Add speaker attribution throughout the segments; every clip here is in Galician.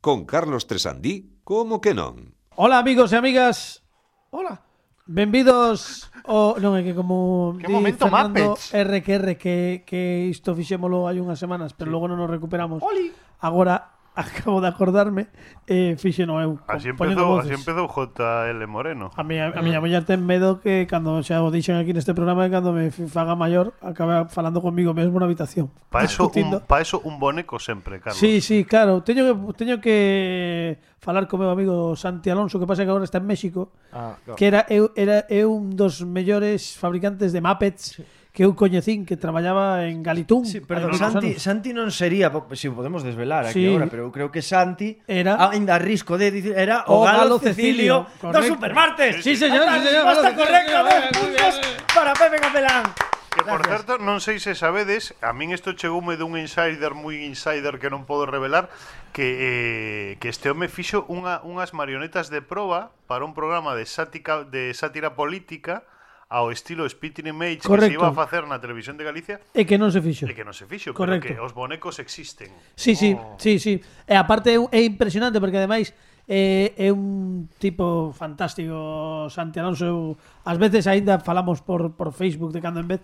Speaker 1: con Carlos Tresandí, como que non?
Speaker 2: Hola amigos e amigas. Hola. Benvidos ao non é que como
Speaker 3: Que
Speaker 2: di
Speaker 3: momento
Speaker 2: Fernando
Speaker 3: Muppets.
Speaker 2: RQR que que isto fixémolo hai unhas semanas, pero logo non nos recuperamos.
Speaker 3: Oli.
Speaker 2: Agora acabo de acordarme eh fixeno eu.
Speaker 4: Así
Speaker 2: co- poñendo
Speaker 4: empezou,
Speaker 2: voces. Ah,
Speaker 4: así empezou JL Moreno.
Speaker 2: A miña, a miña muller ten medo que cando xa o dixen aquí neste programa que cando me fi- faga maior acabe falando comigo mesmo na habitación.
Speaker 4: Pa eso,
Speaker 2: discutindo.
Speaker 4: un, pa eso un boneco sempre, Carlos.
Speaker 2: Sí, sí, claro. Teño que teño que falar co meu amigo Santi Alonso, que pasa que agora está en México,
Speaker 3: Ah, claro.
Speaker 2: que era eu era eu un dos mellores fabricantes de Muppets que eu coñecín, que traballaba en Galitún.
Speaker 5: Sí,
Speaker 2: hai
Speaker 5: pero
Speaker 2: moitos anos.
Speaker 5: Santi, Santi non sería, si sí, podemos desvelar aquí
Speaker 2: Sí.
Speaker 5: ahora, pero eu creo que Santi
Speaker 2: Era-
Speaker 5: ainda a risco de dicir era o, Galo, Cecilio,
Speaker 2: correcto.
Speaker 5: dos supermartes.
Speaker 2: Sí, señor, sí,
Speaker 5: Ahí está,
Speaker 2: señor,
Speaker 5: resposta
Speaker 2: Galo
Speaker 5: correcta,
Speaker 2: Cecilio,
Speaker 5: dez
Speaker 2: muy bien, muy
Speaker 5: puntos
Speaker 2: bien.
Speaker 5: para Pepe Capelán.
Speaker 4: Que por certo, non sei se sabedes, a min isto chegoume dun insider moi insider que non podo revelar que eh, que este home fixo unha unhas marionetas de proba para un programa de sática de sátira política ao estilo Spitting Image que se
Speaker 2: Correcto.
Speaker 4: iba a facer na televisión de Galicia
Speaker 2: E que non se fixo.
Speaker 4: e que non se fixo,
Speaker 2: Correcto.
Speaker 4: pero que os bonecos existen.
Speaker 2: Sí, sí,
Speaker 4: Oh.
Speaker 2: sí, sí. E aparte é un- é impresionante porque ademais eh, é un tipo fantástico Santi Alonso. Eu, ás veces aínda falamos por, por Facebook de cando en vez.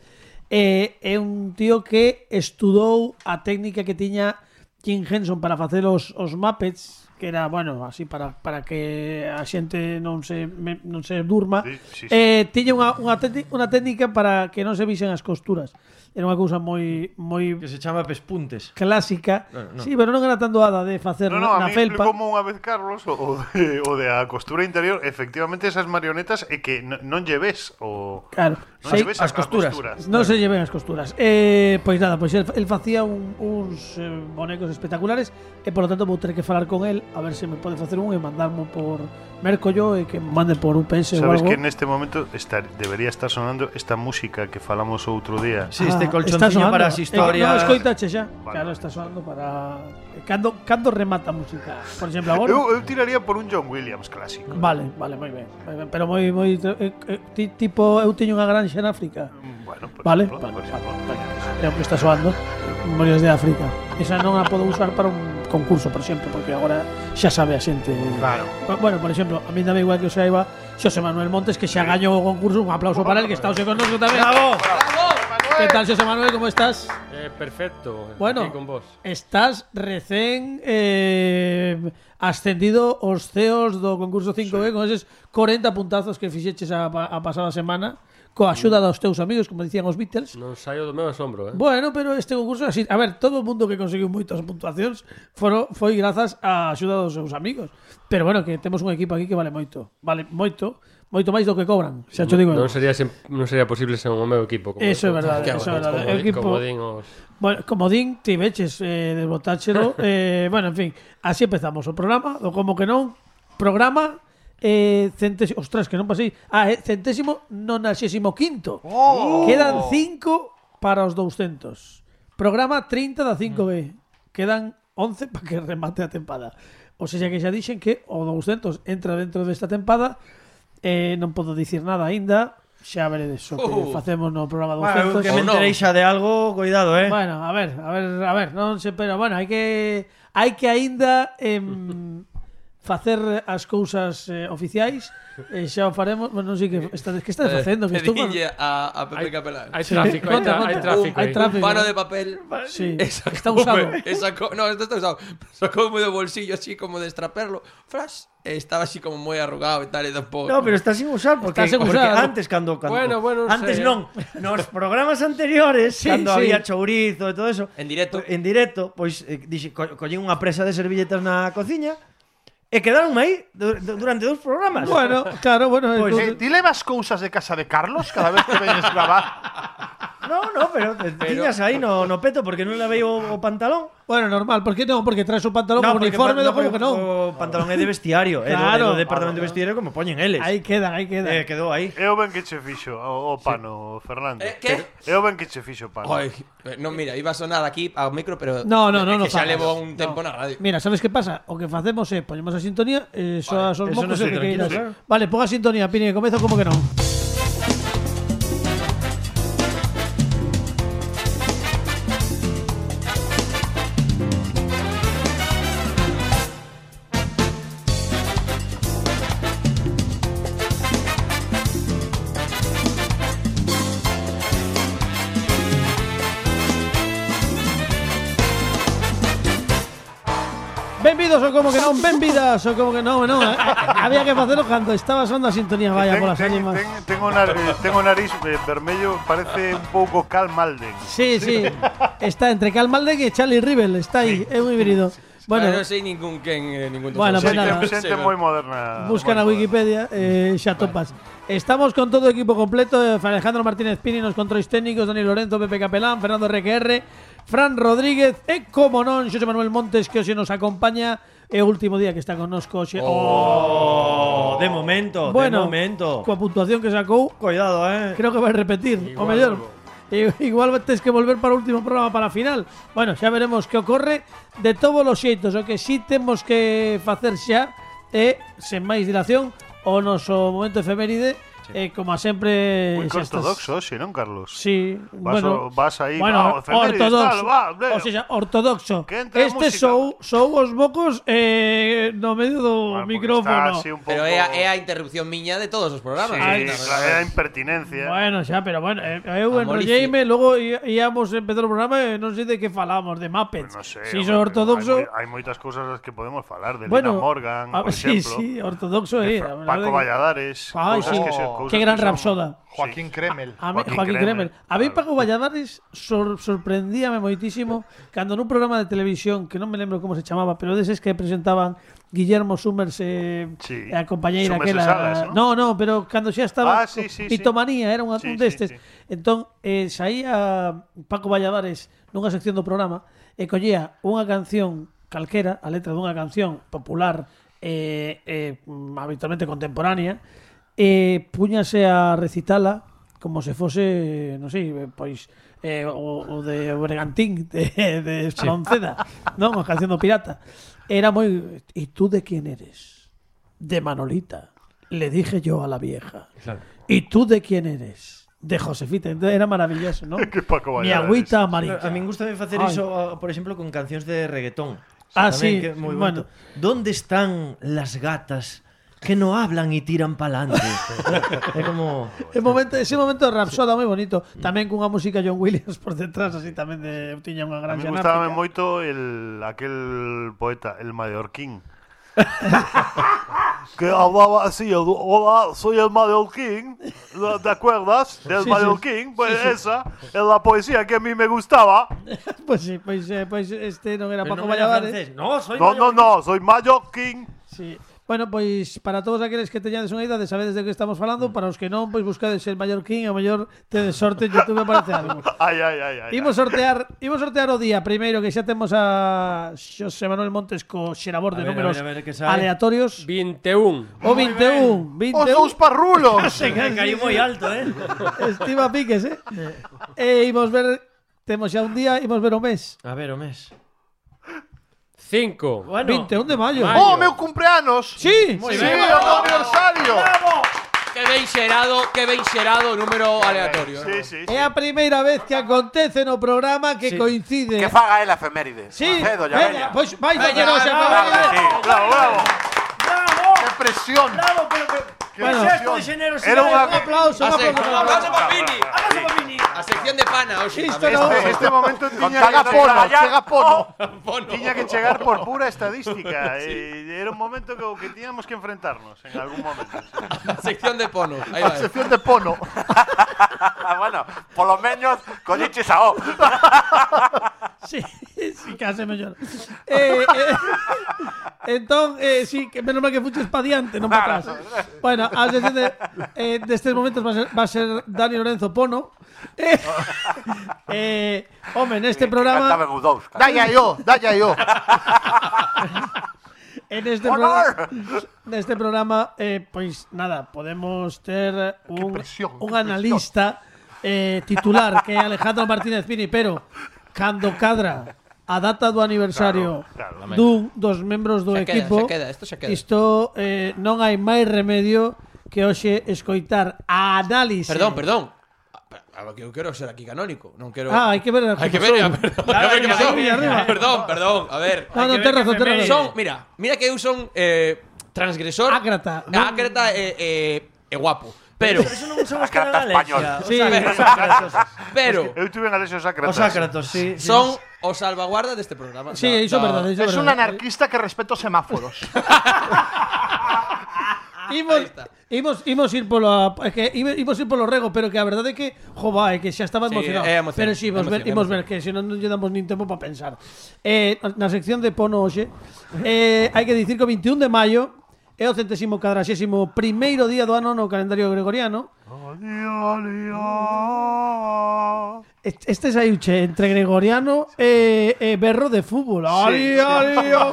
Speaker 2: Eh, é un tío que estudou a técnica que tiña Jim Henson para facer os, os Muppets que era, bueno, así para, para que a xente non se, me, non se durma
Speaker 4: Sí, sí, sí.
Speaker 2: eh, tiña unha, unha, técni- unha técnica para que non se visen as costuras era unha cousa moi moi
Speaker 5: Que se chama Pespuntes.
Speaker 2: clásica. Sí, pero non era tan doada de facer
Speaker 4: No, no, a
Speaker 2: na
Speaker 4: mí
Speaker 2: felpa.
Speaker 4: como unha vez Carlos o, o, de, o de a costura interior, efectivamente esas marionetas é que non, non lleves o
Speaker 2: Claro.
Speaker 4: non
Speaker 2: sei-
Speaker 4: lleves
Speaker 5: as costuras.
Speaker 2: non se lleven as costuras. Eh, pois nada, pois el, el facía un, uns eh, bonecos espectaculares e polo tanto vou ter que falar con el a ver se me pode facer un e mandarmo por Mercollo e que me mande por UPS ou
Speaker 4: Sabes
Speaker 2: algo.
Speaker 4: que en este momento estar, debería estar sonando esta música que falamos outro día.
Speaker 5: Sí, este
Speaker 2: Ah, está
Speaker 5: colchoncillo
Speaker 2: sonando.
Speaker 5: para as
Speaker 2: Eh, non
Speaker 5: historias.
Speaker 2: escoitache xa.
Speaker 4: Vale.
Speaker 2: Claro, está sonando para eh, cando cando remata a música. Por exemplo, agora.
Speaker 4: Eu, eu tiraría por un John Williams clásico.
Speaker 2: Vale, vale, moi ben, moi ben, pero moi moi eh, eh, ti- tipo eu teño unha granxa en África.
Speaker 4: Mm, Bueno, por
Speaker 2: Vale,
Speaker 4: ejemplo,
Speaker 2: vale,
Speaker 4: por ejemplo.
Speaker 2: vale, vale. É o que está soando Memorias de África Esa non a podo usar para un concurso, por exemplo Porque agora xa sabe a xente
Speaker 3: Claro.
Speaker 2: Bueno, por exemplo, a mí dame igual que o saiba Xosé Manuel Montes Que xa gañou o concurso Un aplauso para el que está hoxe connosco tamén Bravo, Que tal, Xosé Manuel, como estás?
Speaker 6: Eh, perfecto.
Speaker 2: Bueno.
Speaker 6: Aquí con vos.
Speaker 2: Estás recén eh, ascendido os CEOs do concurso 5B sí. con eses 40 puntazos que fixeches a, pa- a pasada semana coa axuda dos teus amigos, como dicían os Beatles.
Speaker 6: Non saio do meu asombro, eh?
Speaker 2: Bueno, pero este concurso é así. A ver, todo o mundo que conseguiu moitas puntuacións foro, foi grazas á axuda dos seus amigos. Pero bueno, que temos un equipo aquí que vale moito. Vale moito, moito máis do que cobran. Xa cho digo. eu.
Speaker 6: non sería sem- non sería posible sen o meu equipo como
Speaker 2: Eso é
Speaker 6: como-
Speaker 2: verdade,
Speaker 6: como-
Speaker 2: eso é verdade.
Speaker 6: como-
Speaker 2: O equipo-
Speaker 6: como din os
Speaker 2: Bueno, como din, ti veches eh, desbotáchelo. eh, bueno, en fin, así empezamos o programa, do como que non, programa eh, centésimo, ostras, que non pasei, ah, eh, centésimo nonaxésimo quinto.
Speaker 3: Oh.
Speaker 2: Quedan cinco para os 200. Programa 30 da 5B.
Speaker 5: Mm.
Speaker 2: Quedan 11 para que remate a tempada. O sea que xa dixen que o 200 entra dentro desta tempada eh, non podo dicir nada aínda xa veredes o que
Speaker 6: Oh.
Speaker 2: facemos no programa
Speaker 5: Uh.
Speaker 2: 200
Speaker 5: Bueno, eu que
Speaker 3: Oh,
Speaker 5: me
Speaker 6: O non.
Speaker 5: enterei xa de algo, cuidado, eh.
Speaker 2: Bueno, a ver, a ver, a ver, non se, pero bueno, hai que hai que aínda em, facer as cousas eh, oficiais, e xa o faremos, bueno, non sei
Speaker 5: Eh,
Speaker 2: que estades que estás facendo, que estou
Speaker 7: Pedille Eh, a, a Pepe Capelán.
Speaker 6: hai tráfico, hai,
Speaker 2: Conta,
Speaker 6: tra-
Speaker 2: conta.
Speaker 6: hai tráfico.
Speaker 2: Hai
Speaker 6: aí.
Speaker 2: tra- tráfico.
Speaker 7: Un pano de papel.
Speaker 2: Sí,
Speaker 7: Esa
Speaker 2: está
Speaker 7: come,
Speaker 2: usado.
Speaker 7: esa co- no, esto está usado. Sacó como de bolsillo así como de estraperlo. Flash, eh, estaba así como muy arrugado y tal y tampoco.
Speaker 5: No, pero está sin usar porque,
Speaker 2: Está sin
Speaker 5: porque
Speaker 2: usar, ¿no?
Speaker 5: antes cando, cando
Speaker 6: Bueno, bueno, non
Speaker 5: antes
Speaker 6: sei, eh.
Speaker 5: non, nos programas anteriores,
Speaker 2: Sí,
Speaker 5: cando
Speaker 2: sí.
Speaker 5: había chourizo e todo eso,
Speaker 7: En directo.
Speaker 5: en directo, pois eh, dixe, co collín unha presa de servilletas na cociña e quedaron aí du- du- durante dous programas.
Speaker 2: Bueno, claro, bueno,
Speaker 4: Pues,
Speaker 5: Pois,
Speaker 2: entonces-
Speaker 3: Eh, ti levas cousas de casa de Carlos cada vez que veñes gravar?
Speaker 5: No, no, pero, te tiñas aí no, no peto porque non lavei o, o pantalón.
Speaker 2: bueno, normal, por que non? Porque traes o pantalón con
Speaker 5: porque
Speaker 2: uniforme
Speaker 5: pa-
Speaker 2: do como que
Speaker 5: porque
Speaker 2: non.
Speaker 5: O pantalón é de vestiario, é
Speaker 2: Claro.
Speaker 5: do, é do departamento de vestiario como poñen eles.
Speaker 2: Aí quedan, aí quedan.
Speaker 5: eh, quedou aí.
Speaker 4: Eu ben que che fixo o, o pano, Fernando.
Speaker 7: Eh, que?
Speaker 4: Eu ben que che fixo o pano.
Speaker 7: Ay, eh, no, mira, iba a sonar aquí a un micro, pero.
Speaker 2: No, no, no,
Speaker 7: es
Speaker 2: no
Speaker 7: que xa
Speaker 2: fagas.
Speaker 7: levo un tempo na radio.
Speaker 2: Mira, ¿sabes qué pasa? O que facemos é poñemos a sintonía, eh, soa os
Speaker 5: eso
Speaker 2: mocos e
Speaker 5: non sei,
Speaker 2: que queiras.
Speaker 5: tranquilo, ¿eh?
Speaker 2: Vale, ponga a sintonía, Pini, que comezo como que non. Benvidos ou como que non, benvidas ou como que non, non. eh. Había que facelo cando estaba sonando a sintonía,
Speaker 4: Ten-
Speaker 2: vaya, polas
Speaker 4: ten-
Speaker 2: ánimas.
Speaker 4: ten- tengo, nar- eh, tengo nariz eh, vermello, parece un pouco Cal Malden.
Speaker 2: Sí, sí. Está entre Cal Malden e Charlie Rivel, está aí, é un híbrido.
Speaker 7: Bueno,
Speaker 2: Bueno,
Speaker 7: non sei ningún quen, eh, ningún
Speaker 2: Bueno,
Speaker 7: defensor.
Speaker 2: pues
Speaker 4: Xente-
Speaker 2: nada.
Speaker 4: xente moi moderna.
Speaker 2: Busca na
Speaker 4: moi moderna.
Speaker 2: Wikipedia, eh, xa topas. Estamos con todo o equipo completo, eh, Alejandro Martínez Pini nos controis técnicos, Dani Lorenzo, Pepe Capelán, Fernando RQR, Fran Rodríguez e, como non, Xosé Manuel Montes, que hoxe nos acompaña e o último día que está eh, connosco hoxe.
Speaker 5: Oh, de momento, de momento.
Speaker 2: coa oh, puntuación que sacou,
Speaker 5: Cuidado, eh.
Speaker 2: creo que vai repetir,
Speaker 6: Igual
Speaker 2: o mellor.
Speaker 6: volvo.
Speaker 2: I- Igual tens que volver para o último programa para a final. Bueno, xa veremos que ocorre de todos os xeitos. O que sí temos que facer xa é, sen máis dilación, o noso momento efeméride, e como a sempre...
Speaker 4: Moi
Speaker 2: xa estás-
Speaker 4: ortodoxo, sí, non, Carlos?
Speaker 2: Sí,
Speaker 4: Vas o-
Speaker 2: bueno,
Speaker 4: vas ahí, va, o
Speaker 2: bueno,
Speaker 4: efemérides,
Speaker 2: ortodoxo,
Speaker 4: tal, va, leo.
Speaker 2: o sea, ortodoxo.
Speaker 4: Que entre
Speaker 2: Este
Speaker 4: música.
Speaker 2: sou, sou os bocos eh, no medio do
Speaker 4: Bueno, porque
Speaker 2: micrófono.
Speaker 4: está así un
Speaker 7: Pero
Speaker 4: pouco-
Speaker 7: é a, é a interrupción miña de todos os
Speaker 4: Sí,
Speaker 7: programas.
Speaker 2: Ay,
Speaker 7: Claro.
Speaker 4: claro, é a impertinencia.
Speaker 2: Bueno, xa, pero bueno, eh, eu
Speaker 7: A
Speaker 2: enrolleime, logo í- íamos empezar o programa e non sei de que falamos, de
Speaker 4: Pues
Speaker 2: Muppets.
Speaker 4: no sé,
Speaker 2: si
Speaker 4: hombre,
Speaker 2: sou
Speaker 4: pero
Speaker 2: ortodoxo,
Speaker 4: Hay, hay moitas cousas das que podemos falar, de
Speaker 2: bueno,
Speaker 4: Lina Morgan,
Speaker 2: a-
Speaker 4: por
Speaker 2: sí,
Speaker 4: exemplo,
Speaker 2: sí, ortodoxo
Speaker 4: de
Speaker 2: é.
Speaker 4: Fra-
Speaker 2: a verdade
Speaker 4: Paco
Speaker 2: que-
Speaker 4: Valladares,
Speaker 2: Ay,
Speaker 4: cousas
Speaker 2: sí.
Speaker 4: que se- cousas
Speaker 2: Qué gran
Speaker 4: que son-
Speaker 2: rapsoda.
Speaker 3: Joaquín Kremel.
Speaker 2: A mí,
Speaker 4: Joaquín
Speaker 2: Joaquín Kremer.
Speaker 4: Kremer.
Speaker 2: A mí
Speaker 4: Claro.
Speaker 2: Paco Valladares sor- sorprendíame moitísimo cando nun programa de televisión que non me lembro como se chamaba, pero deses que presentaban Guillermo Summers e,
Speaker 4: Sí.
Speaker 2: e a compañeira
Speaker 4: Summers e
Speaker 2: aquela.
Speaker 4: Salas,
Speaker 2: no? no, pero cando xa
Speaker 4: Ah,
Speaker 2: estaba
Speaker 4: sí, sí, sí.
Speaker 2: Pitomanía, era un,
Speaker 4: Sí, sí,
Speaker 2: un destes.
Speaker 4: sí.
Speaker 2: Entón, eh, saía Paco Valladares nunha sección do programa e collía unha canción calquera, a letra dunha canción popular eh, eh, mm, habitualmente contemporánea, e puñase a recitala como se fose, non sei, eh, pois eh, o, o de Bregantín de, de Espronceda, non? A canción do pirata. Era moi... E tú de quién eres? De Manolita, le dije yo a la vieja. ¿Y tú de quién eres? De Josefita. Entonces, Era maravilloso, ¿no?
Speaker 4: Que Paco
Speaker 2: Mi
Speaker 4: Valladares.
Speaker 2: agüita amarilla.
Speaker 5: A mí me gusta bien hacer
Speaker 2: Ay.
Speaker 5: eso, a- por ejemplo, con canciones de reggaetón.
Speaker 2: Ah,
Speaker 5: también,
Speaker 2: sí,
Speaker 5: que es muy
Speaker 2: bueno.
Speaker 5: bonito. ¿Dónde están las gatas que no hablan y tiran para adelante? es como.
Speaker 2: El momento, ese momento de Rapsoda moi bonito.
Speaker 4: Mm.
Speaker 2: Tamén cunha música John Williams por detrás, así tamén de eu tiña unha
Speaker 4: A mí
Speaker 2: granja en
Speaker 4: gustaba
Speaker 2: África.
Speaker 4: moito el, aquel poeta, el mallorquín. que hablaba así, el, hola, soy el mallorquín, ¿lo- ¿te acuerdas? Del mallorquín, pues esa es la poesía que a mí me gustaba.
Speaker 2: Pois sí, pois, eh, pois este non era
Speaker 5: Pero
Speaker 2: Paco
Speaker 5: no, era
Speaker 2: Valladares.
Speaker 5: francés. no, soy
Speaker 4: No, no, no, soy mallorquín.
Speaker 2: Sí. Bueno, pois para todos aqueles que teñades unha idea de sabedes de que estamos
Speaker 4: Mm.
Speaker 2: falando, para os que non, pois buscades el mallorquín, o mellor tedes sorte en YouTube aparece algo.
Speaker 4: Ay, ay, ay, ay.
Speaker 2: Imos sortear, imos sortear o día primeiro que xa temos a Xosé Manuel Montes co xerabor de
Speaker 5: A ver,
Speaker 2: números
Speaker 5: a ver, a ver que sale.
Speaker 2: aleatorios.
Speaker 6: 21.
Speaker 2: O e 21, 21.
Speaker 4: ¡Os dos parrulos!
Speaker 5: Se caí muy alto, ¿eh?
Speaker 2: Estima piques, eh. e imos ver, temos xa un día, imos ver o mes.
Speaker 5: A ver, Omes.
Speaker 6: 5.
Speaker 5: Bueno,
Speaker 2: 21 e de maio.
Speaker 6: Maio.
Speaker 4: ¡Oh, meu cumpleanos!
Speaker 2: Sí,
Speaker 4: ¡Sí,
Speaker 2: sí.
Speaker 4: é meu aniversario!
Speaker 7: Que ben xerado, que ben xerado o número aleatorio.
Speaker 4: Sí, sí,
Speaker 2: É a primeira vez que acontece no programa que coincide.
Speaker 8: Que faga el efeméride.
Speaker 2: Sí, pues-
Speaker 8: Macedo, ya
Speaker 2: veña,
Speaker 8: veña.
Speaker 2: pois vai facer
Speaker 7: Veña,
Speaker 2: o seu
Speaker 7: bravo,
Speaker 2: programa.
Speaker 8: Sí.
Speaker 4: ¡Bravo, bravo! ¡Qué presión!
Speaker 5: bravo, pero que. que
Speaker 2: Bueno.
Speaker 5: gesto de generosidad.
Speaker 4: Era
Speaker 2: Un
Speaker 4: una-
Speaker 2: aplauso, un
Speaker 7: A, sec-
Speaker 2: aplauso.
Speaker 7: un aplauso para Pini.
Speaker 5: Abrazo para Vini.
Speaker 7: A sección de pana, hoxe.
Speaker 2: Isto
Speaker 7: tamén.
Speaker 2: non-
Speaker 4: Este, este momento tiña
Speaker 8: Con
Speaker 4: que
Speaker 8: tagapono,
Speaker 4: chegar, chega pono.
Speaker 7: Bono.
Speaker 4: Tiña que chegar por pura estadística. eh, era un momento que, que tiñamos que enfrentarnos en algún momento.
Speaker 7: A sección de pono. Aí
Speaker 4: A
Speaker 7: vai.
Speaker 4: sección de pono.
Speaker 8: Ah, bueno, por lo menos con Sao.
Speaker 2: Sí, sí, case mellor. Eh, eh, entón, eh, sí, que menos mal que fuches pa diante, non pa atrás. Bueno, a sección de, eh, destes momentos va a ser, va a ser Dani Lorenzo Pono. Eh, eh, home,
Speaker 8: Cántame
Speaker 2: neste programa...
Speaker 8: un dous, cara.
Speaker 3: Daya yo, daya yo.
Speaker 2: En este programa, neste programa eh, pois nada, podemos ter un,
Speaker 3: presión,
Speaker 2: un
Speaker 3: que
Speaker 2: analista eh, titular que é Alejandro Martínez Pini, pero cando cadra a data do aniversario
Speaker 4: Claro,
Speaker 2: dun dos membros do
Speaker 7: Se queda,
Speaker 2: equipo,
Speaker 7: se queda, isto se queda.
Speaker 2: isto, eh, non hai máis remedio que hoxe escoitar a análise.
Speaker 7: Perdón, perdón. Ah, A, a, que eu quero ser aquí canónico, non quero
Speaker 2: Ah, hai que ver a
Speaker 7: Hai que
Speaker 2: pasou.
Speaker 7: ver, a ver, a ver que
Speaker 5: Claro,
Speaker 7: pasou.
Speaker 2: arriba, arriba.
Speaker 7: Perdón, perdón, a ver.
Speaker 2: No, no, ten razón, ten razón.
Speaker 7: Son, mira, mira que eu son eh, transgresor.
Speaker 2: Ácrata. Non-
Speaker 7: Ácrata e eh, eh, guapo. Pero,
Speaker 5: Eso no somos que
Speaker 8: Acata
Speaker 5: nada, Alexia.
Speaker 8: español.
Speaker 2: Sí.
Speaker 5: Os ácratos.
Speaker 7: pero,
Speaker 2: Oh,
Speaker 4: Eu tuve en Alexio Sócrates.
Speaker 5: Os ácratos, sí. sí.
Speaker 7: son o salvaguarda deste programa.
Speaker 2: Sí, iso é verdade, iso é
Speaker 3: Es un
Speaker 2: verdade.
Speaker 3: anarquista que respeto semáforos.
Speaker 2: Imos,
Speaker 7: Ahí está.
Speaker 2: imos, imos ir polo é que ime- imos ir polo rego, pero que a verdade é que jo vai, que xa estaba
Speaker 7: Sí,
Speaker 2: emocionado.
Speaker 7: é emoción,
Speaker 2: pero
Speaker 7: é
Speaker 2: si, imos
Speaker 7: emoción,
Speaker 2: ver,
Speaker 7: é
Speaker 2: imos ver
Speaker 7: emoción.
Speaker 2: que se non non lle damos nin tempo para pensar. Eh, na sección de Pono hoxe, eh, hai que dicir que o 21 de maio é o centésimo cadraxésimo primeiro día do ano no calendario gregoriano. Est- Este é Uche entre gregoriano e, e berro de fútbol. Ali, ali, oh.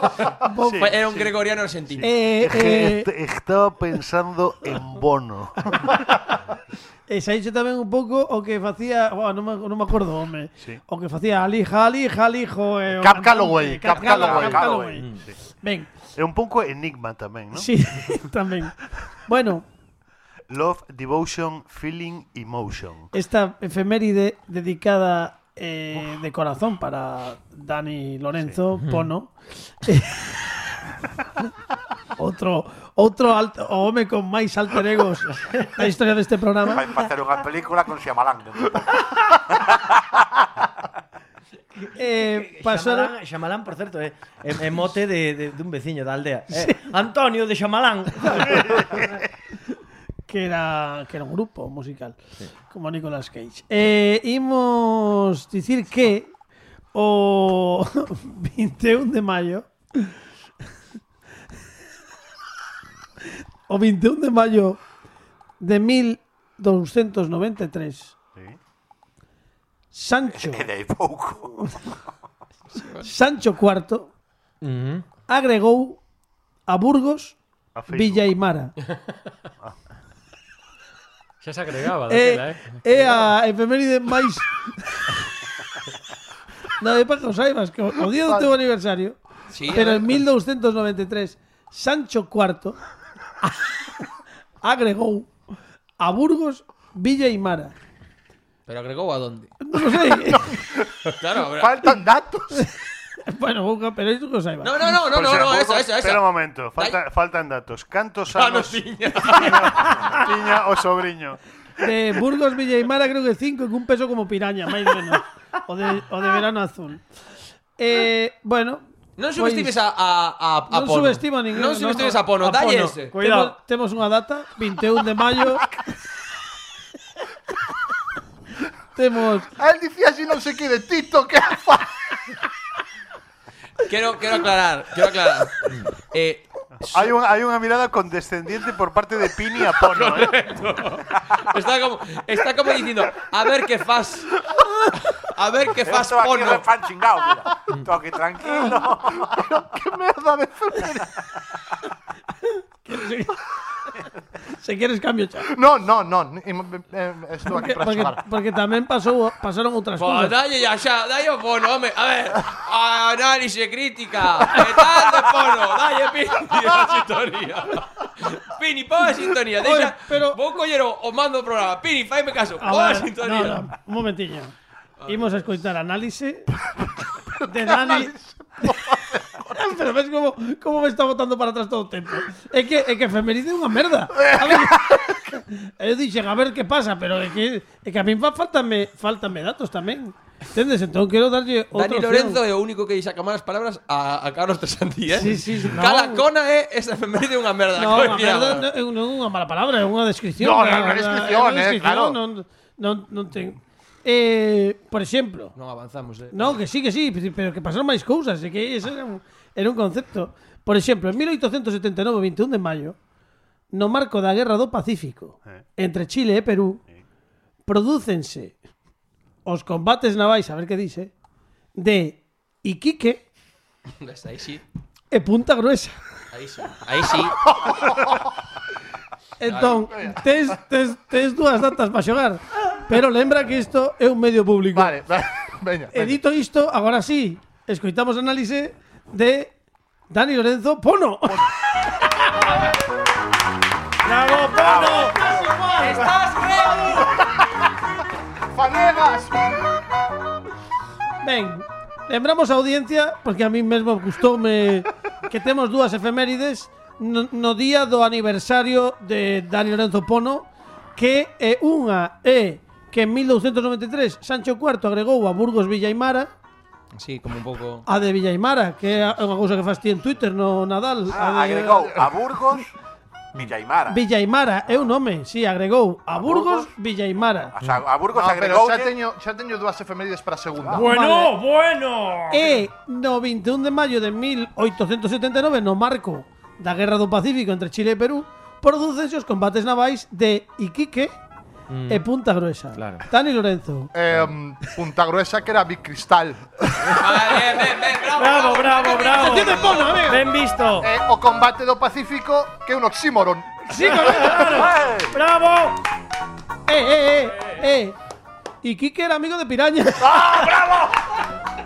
Speaker 2: Bo-
Speaker 7: Fue- era un gregoriano argentino.
Speaker 2: Eh, eh,
Speaker 4: este- Estaba pensando en Bono.
Speaker 2: E saíche tamén un pouco o que facía, oh, non, me, non me acordo, home. O que facía Ali, Jali, Jali, jo, eh, o
Speaker 3: Cap
Speaker 2: cantante,
Speaker 3: Calloway,
Speaker 2: Cap
Speaker 3: Cap Calloway,
Speaker 2: Calloway, Cap Calloway. Ben,
Speaker 4: É un pouco enigma tamén, ¿no?
Speaker 2: sí, tamén. Bueno,
Speaker 4: Love, devotion, feeling, emotion.
Speaker 2: esta efeméride dedicada eh, de corazón para Dani Lorenzo Pono. Eh, outro outro alto, o home con máis alter egos da historia deste programa.
Speaker 8: Vai facer unha película con Shyamalan.
Speaker 2: Eh, pasaron
Speaker 5: Xamalán, Xamalán, por certo, é, é, é mote de, de, dun veciño da aldea. Eh, Antonio de Xamalán.
Speaker 2: que era que era un grupo musical como Nicolas Cage. Eh, imos dicir que o 21 de maio o 21 de maio de 1293 e Sancho
Speaker 8: E dei pouco.
Speaker 2: Sancho IV agregou a Burgos
Speaker 4: A Facebook.
Speaker 2: Villa Aimara.
Speaker 6: Xa se agregaba daquela,
Speaker 2: É,
Speaker 6: eh.
Speaker 2: é a efeméride máis No, é para que o saibas que o o día do teu aniversario
Speaker 7: Sí, eh.
Speaker 2: Pero
Speaker 7: a ver.
Speaker 2: en 1293 Sancho IV Agregou A Burgos Villa y Mara
Speaker 7: Pero agregou a dónde?
Speaker 2: Non o sei
Speaker 7: Claro, agre-
Speaker 3: Faltan datos.
Speaker 2: Bueno, Bouca, pero iso que o saibas
Speaker 7: No, no, no, no,
Speaker 4: Pois
Speaker 7: no,
Speaker 4: era
Speaker 7: no,
Speaker 4: Burgos-
Speaker 7: esa, esa,
Speaker 4: Espera un
Speaker 7: esa.
Speaker 4: momento, falta, faltan datos. Cantos
Speaker 7: Ah, no,
Speaker 4: anos
Speaker 7: tiña.
Speaker 4: tiña o sobrinho?
Speaker 2: De Burgos Villa y Mara creo que 5 Que un peso como piraña, máis menos O de, o de verano azul Eh, bueno
Speaker 7: Non
Speaker 2: pois-
Speaker 7: subestimes a, a, a, a
Speaker 2: non
Speaker 7: Pono.
Speaker 2: Pues subestimo a ninguén.
Speaker 7: Non subestimes a Pono, dalle
Speaker 2: Pono.
Speaker 7: ese.
Speaker 5: Cuidado.
Speaker 2: Temos, temos unha data, 21 de maio. temos
Speaker 3: A Ah, él dicía así no sé qué de Tito, que fa-
Speaker 7: Quiero, quiero aclarar, quiero aclarar. Eh,
Speaker 4: Hai unha hai unha mirada condescendiente por parte de Pini a Pono, eh?
Speaker 7: está, como, está como diciendo, a ver qué fas. A ver qué
Speaker 8: Eu
Speaker 7: fas,
Speaker 8: estou aquí
Speaker 7: Pono.
Speaker 8: refan chingado, mira. Estou aquí tranquilo.
Speaker 3: ¡Qué mierda de efeméride!
Speaker 2: se queres cambio xa.
Speaker 3: No, no, no. em- em- Estou
Speaker 2: Porque,
Speaker 3: aquí para
Speaker 2: porque,
Speaker 3: xogar.
Speaker 2: porque tamén pasou, pasaron outras
Speaker 7: Pues
Speaker 2: cousas.
Speaker 7: dalle ya, xa, dalle o Pono, home. A ver, análise crítica. ¿Qué tal de Pono? Dalle, Pini, a sintonía. Pini, pon a sintonía. Deixa,
Speaker 2: Oye, pero-
Speaker 7: Vou coller o, o mando do programa. Pini, faime caso. Pon a
Speaker 2: Agora-
Speaker 7: sintonía.
Speaker 2: no, no, un momentiño. Imos a escoitar análise de Dani. Pero ves como, como me está botando para atrás todo o tempo. É que, é que efeméride é unha merda. A ver, eu dixen, a ver que pasa, pero é que, é que a min fa faltame, faltame datos tamén. Entendes? Entón quero darlle outra
Speaker 7: Dani
Speaker 2: opción.
Speaker 7: Lorenzo é o único que lle saca malas palabras a, a Carlos Tresantí, eh?
Speaker 2: Sí, sí, sí, no.
Speaker 7: Cada cona é esa efeméride unha merda.
Speaker 2: No, a
Speaker 7: coña.
Speaker 2: merda non é non é unha mala palabra, é unha descripción.
Speaker 3: No,
Speaker 2: é
Speaker 3: é unha descripción, eh, claro.
Speaker 2: Non, non, non ten... Eh, por exemplo,
Speaker 7: Non avanzamos, eh.
Speaker 2: No, que sí, que sí, pero que pasaron máis cousas, é que ese era un, era un concepto. Por exemplo, en 1879, 21 de maio, no marco da Guerra do Pacífico, entre Chile e Perú, prodúcense os combates navais, a ver que dice, de Iquique
Speaker 7: Aí sí,
Speaker 2: e Punta Gruesa.
Speaker 7: aí sí. Aí sí.
Speaker 2: Entón, tes, tes, tes dúas datas para xogar, pero lembra que isto é un medio público.
Speaker 3: Vale, vale. Veña,
Speaker 2: E
Speaker 3: veña.
Speaker 2: dito isto, agora sí, escoitamos o análise de Dani Lorenzo Pono.
Speaker 5: Bravo, Pono.
Speaker 7: Estás reo!
Speaker 3: ¡Fanegas!
Speaker 2: Ben, lembramos a audiencia, porque a mí mesmo gustoume que temos dúas efemérides no, no día do aniversario de Dani Lorenzo Pono, que é unha é que en 1293 Sancho IV agregou a Burgos Villaimara
Speaker 7: Así, como un pouco...
Speaker 2: A de Villaimara, que é unha cousa que faz ti en Twitter, no Nadal.
Speaker 8: Ah,
Speaker 2: de-
Speaker 8: agregou a Burgos, Villaimara.
Speaker 2: Villaimara é un nome, si, sí, agregou a Burgos,
Speaker 8: Burgos?
Speaker 2: Villaimara.
Speaker 8: O sea, a Burgos
Speaker 3: No, pero
Speaker 8: agregou
Speaker 3: xa teño, xa teño dúas efemérides para a segunda.
Speaker 5: Bueno, bueno.
Speaker 2: E no 21 de maio de 1879, e no marco da Guerra do Pacífico entre Chile e Perú, producense os combates navais de Iquique e Punta Gruesa.
Speaker 7: Claro.
Speaker 2: Tani Lorenzo.
Speaker 3: Em, punta gruesa que era bicristal.
Speaker 7: Vale, ben, ben, ben, bravo,
Speaker 5: Bravo, bravo, bravo.
Speaker 2: Sección de porno, amigo.
Speaker 5: Ben visto.
Speaker 3: E o combate do Pacífico que é un oxímoron.
Speaker 2: Sí,
Speaker 5: ¿eh?
Speaker 2: correcto.
Speaker 5: Bravo.
Speaker 2: eh, eh, eh, eh. Iquique era amigo de Piraña.
Speaker 5: Ah.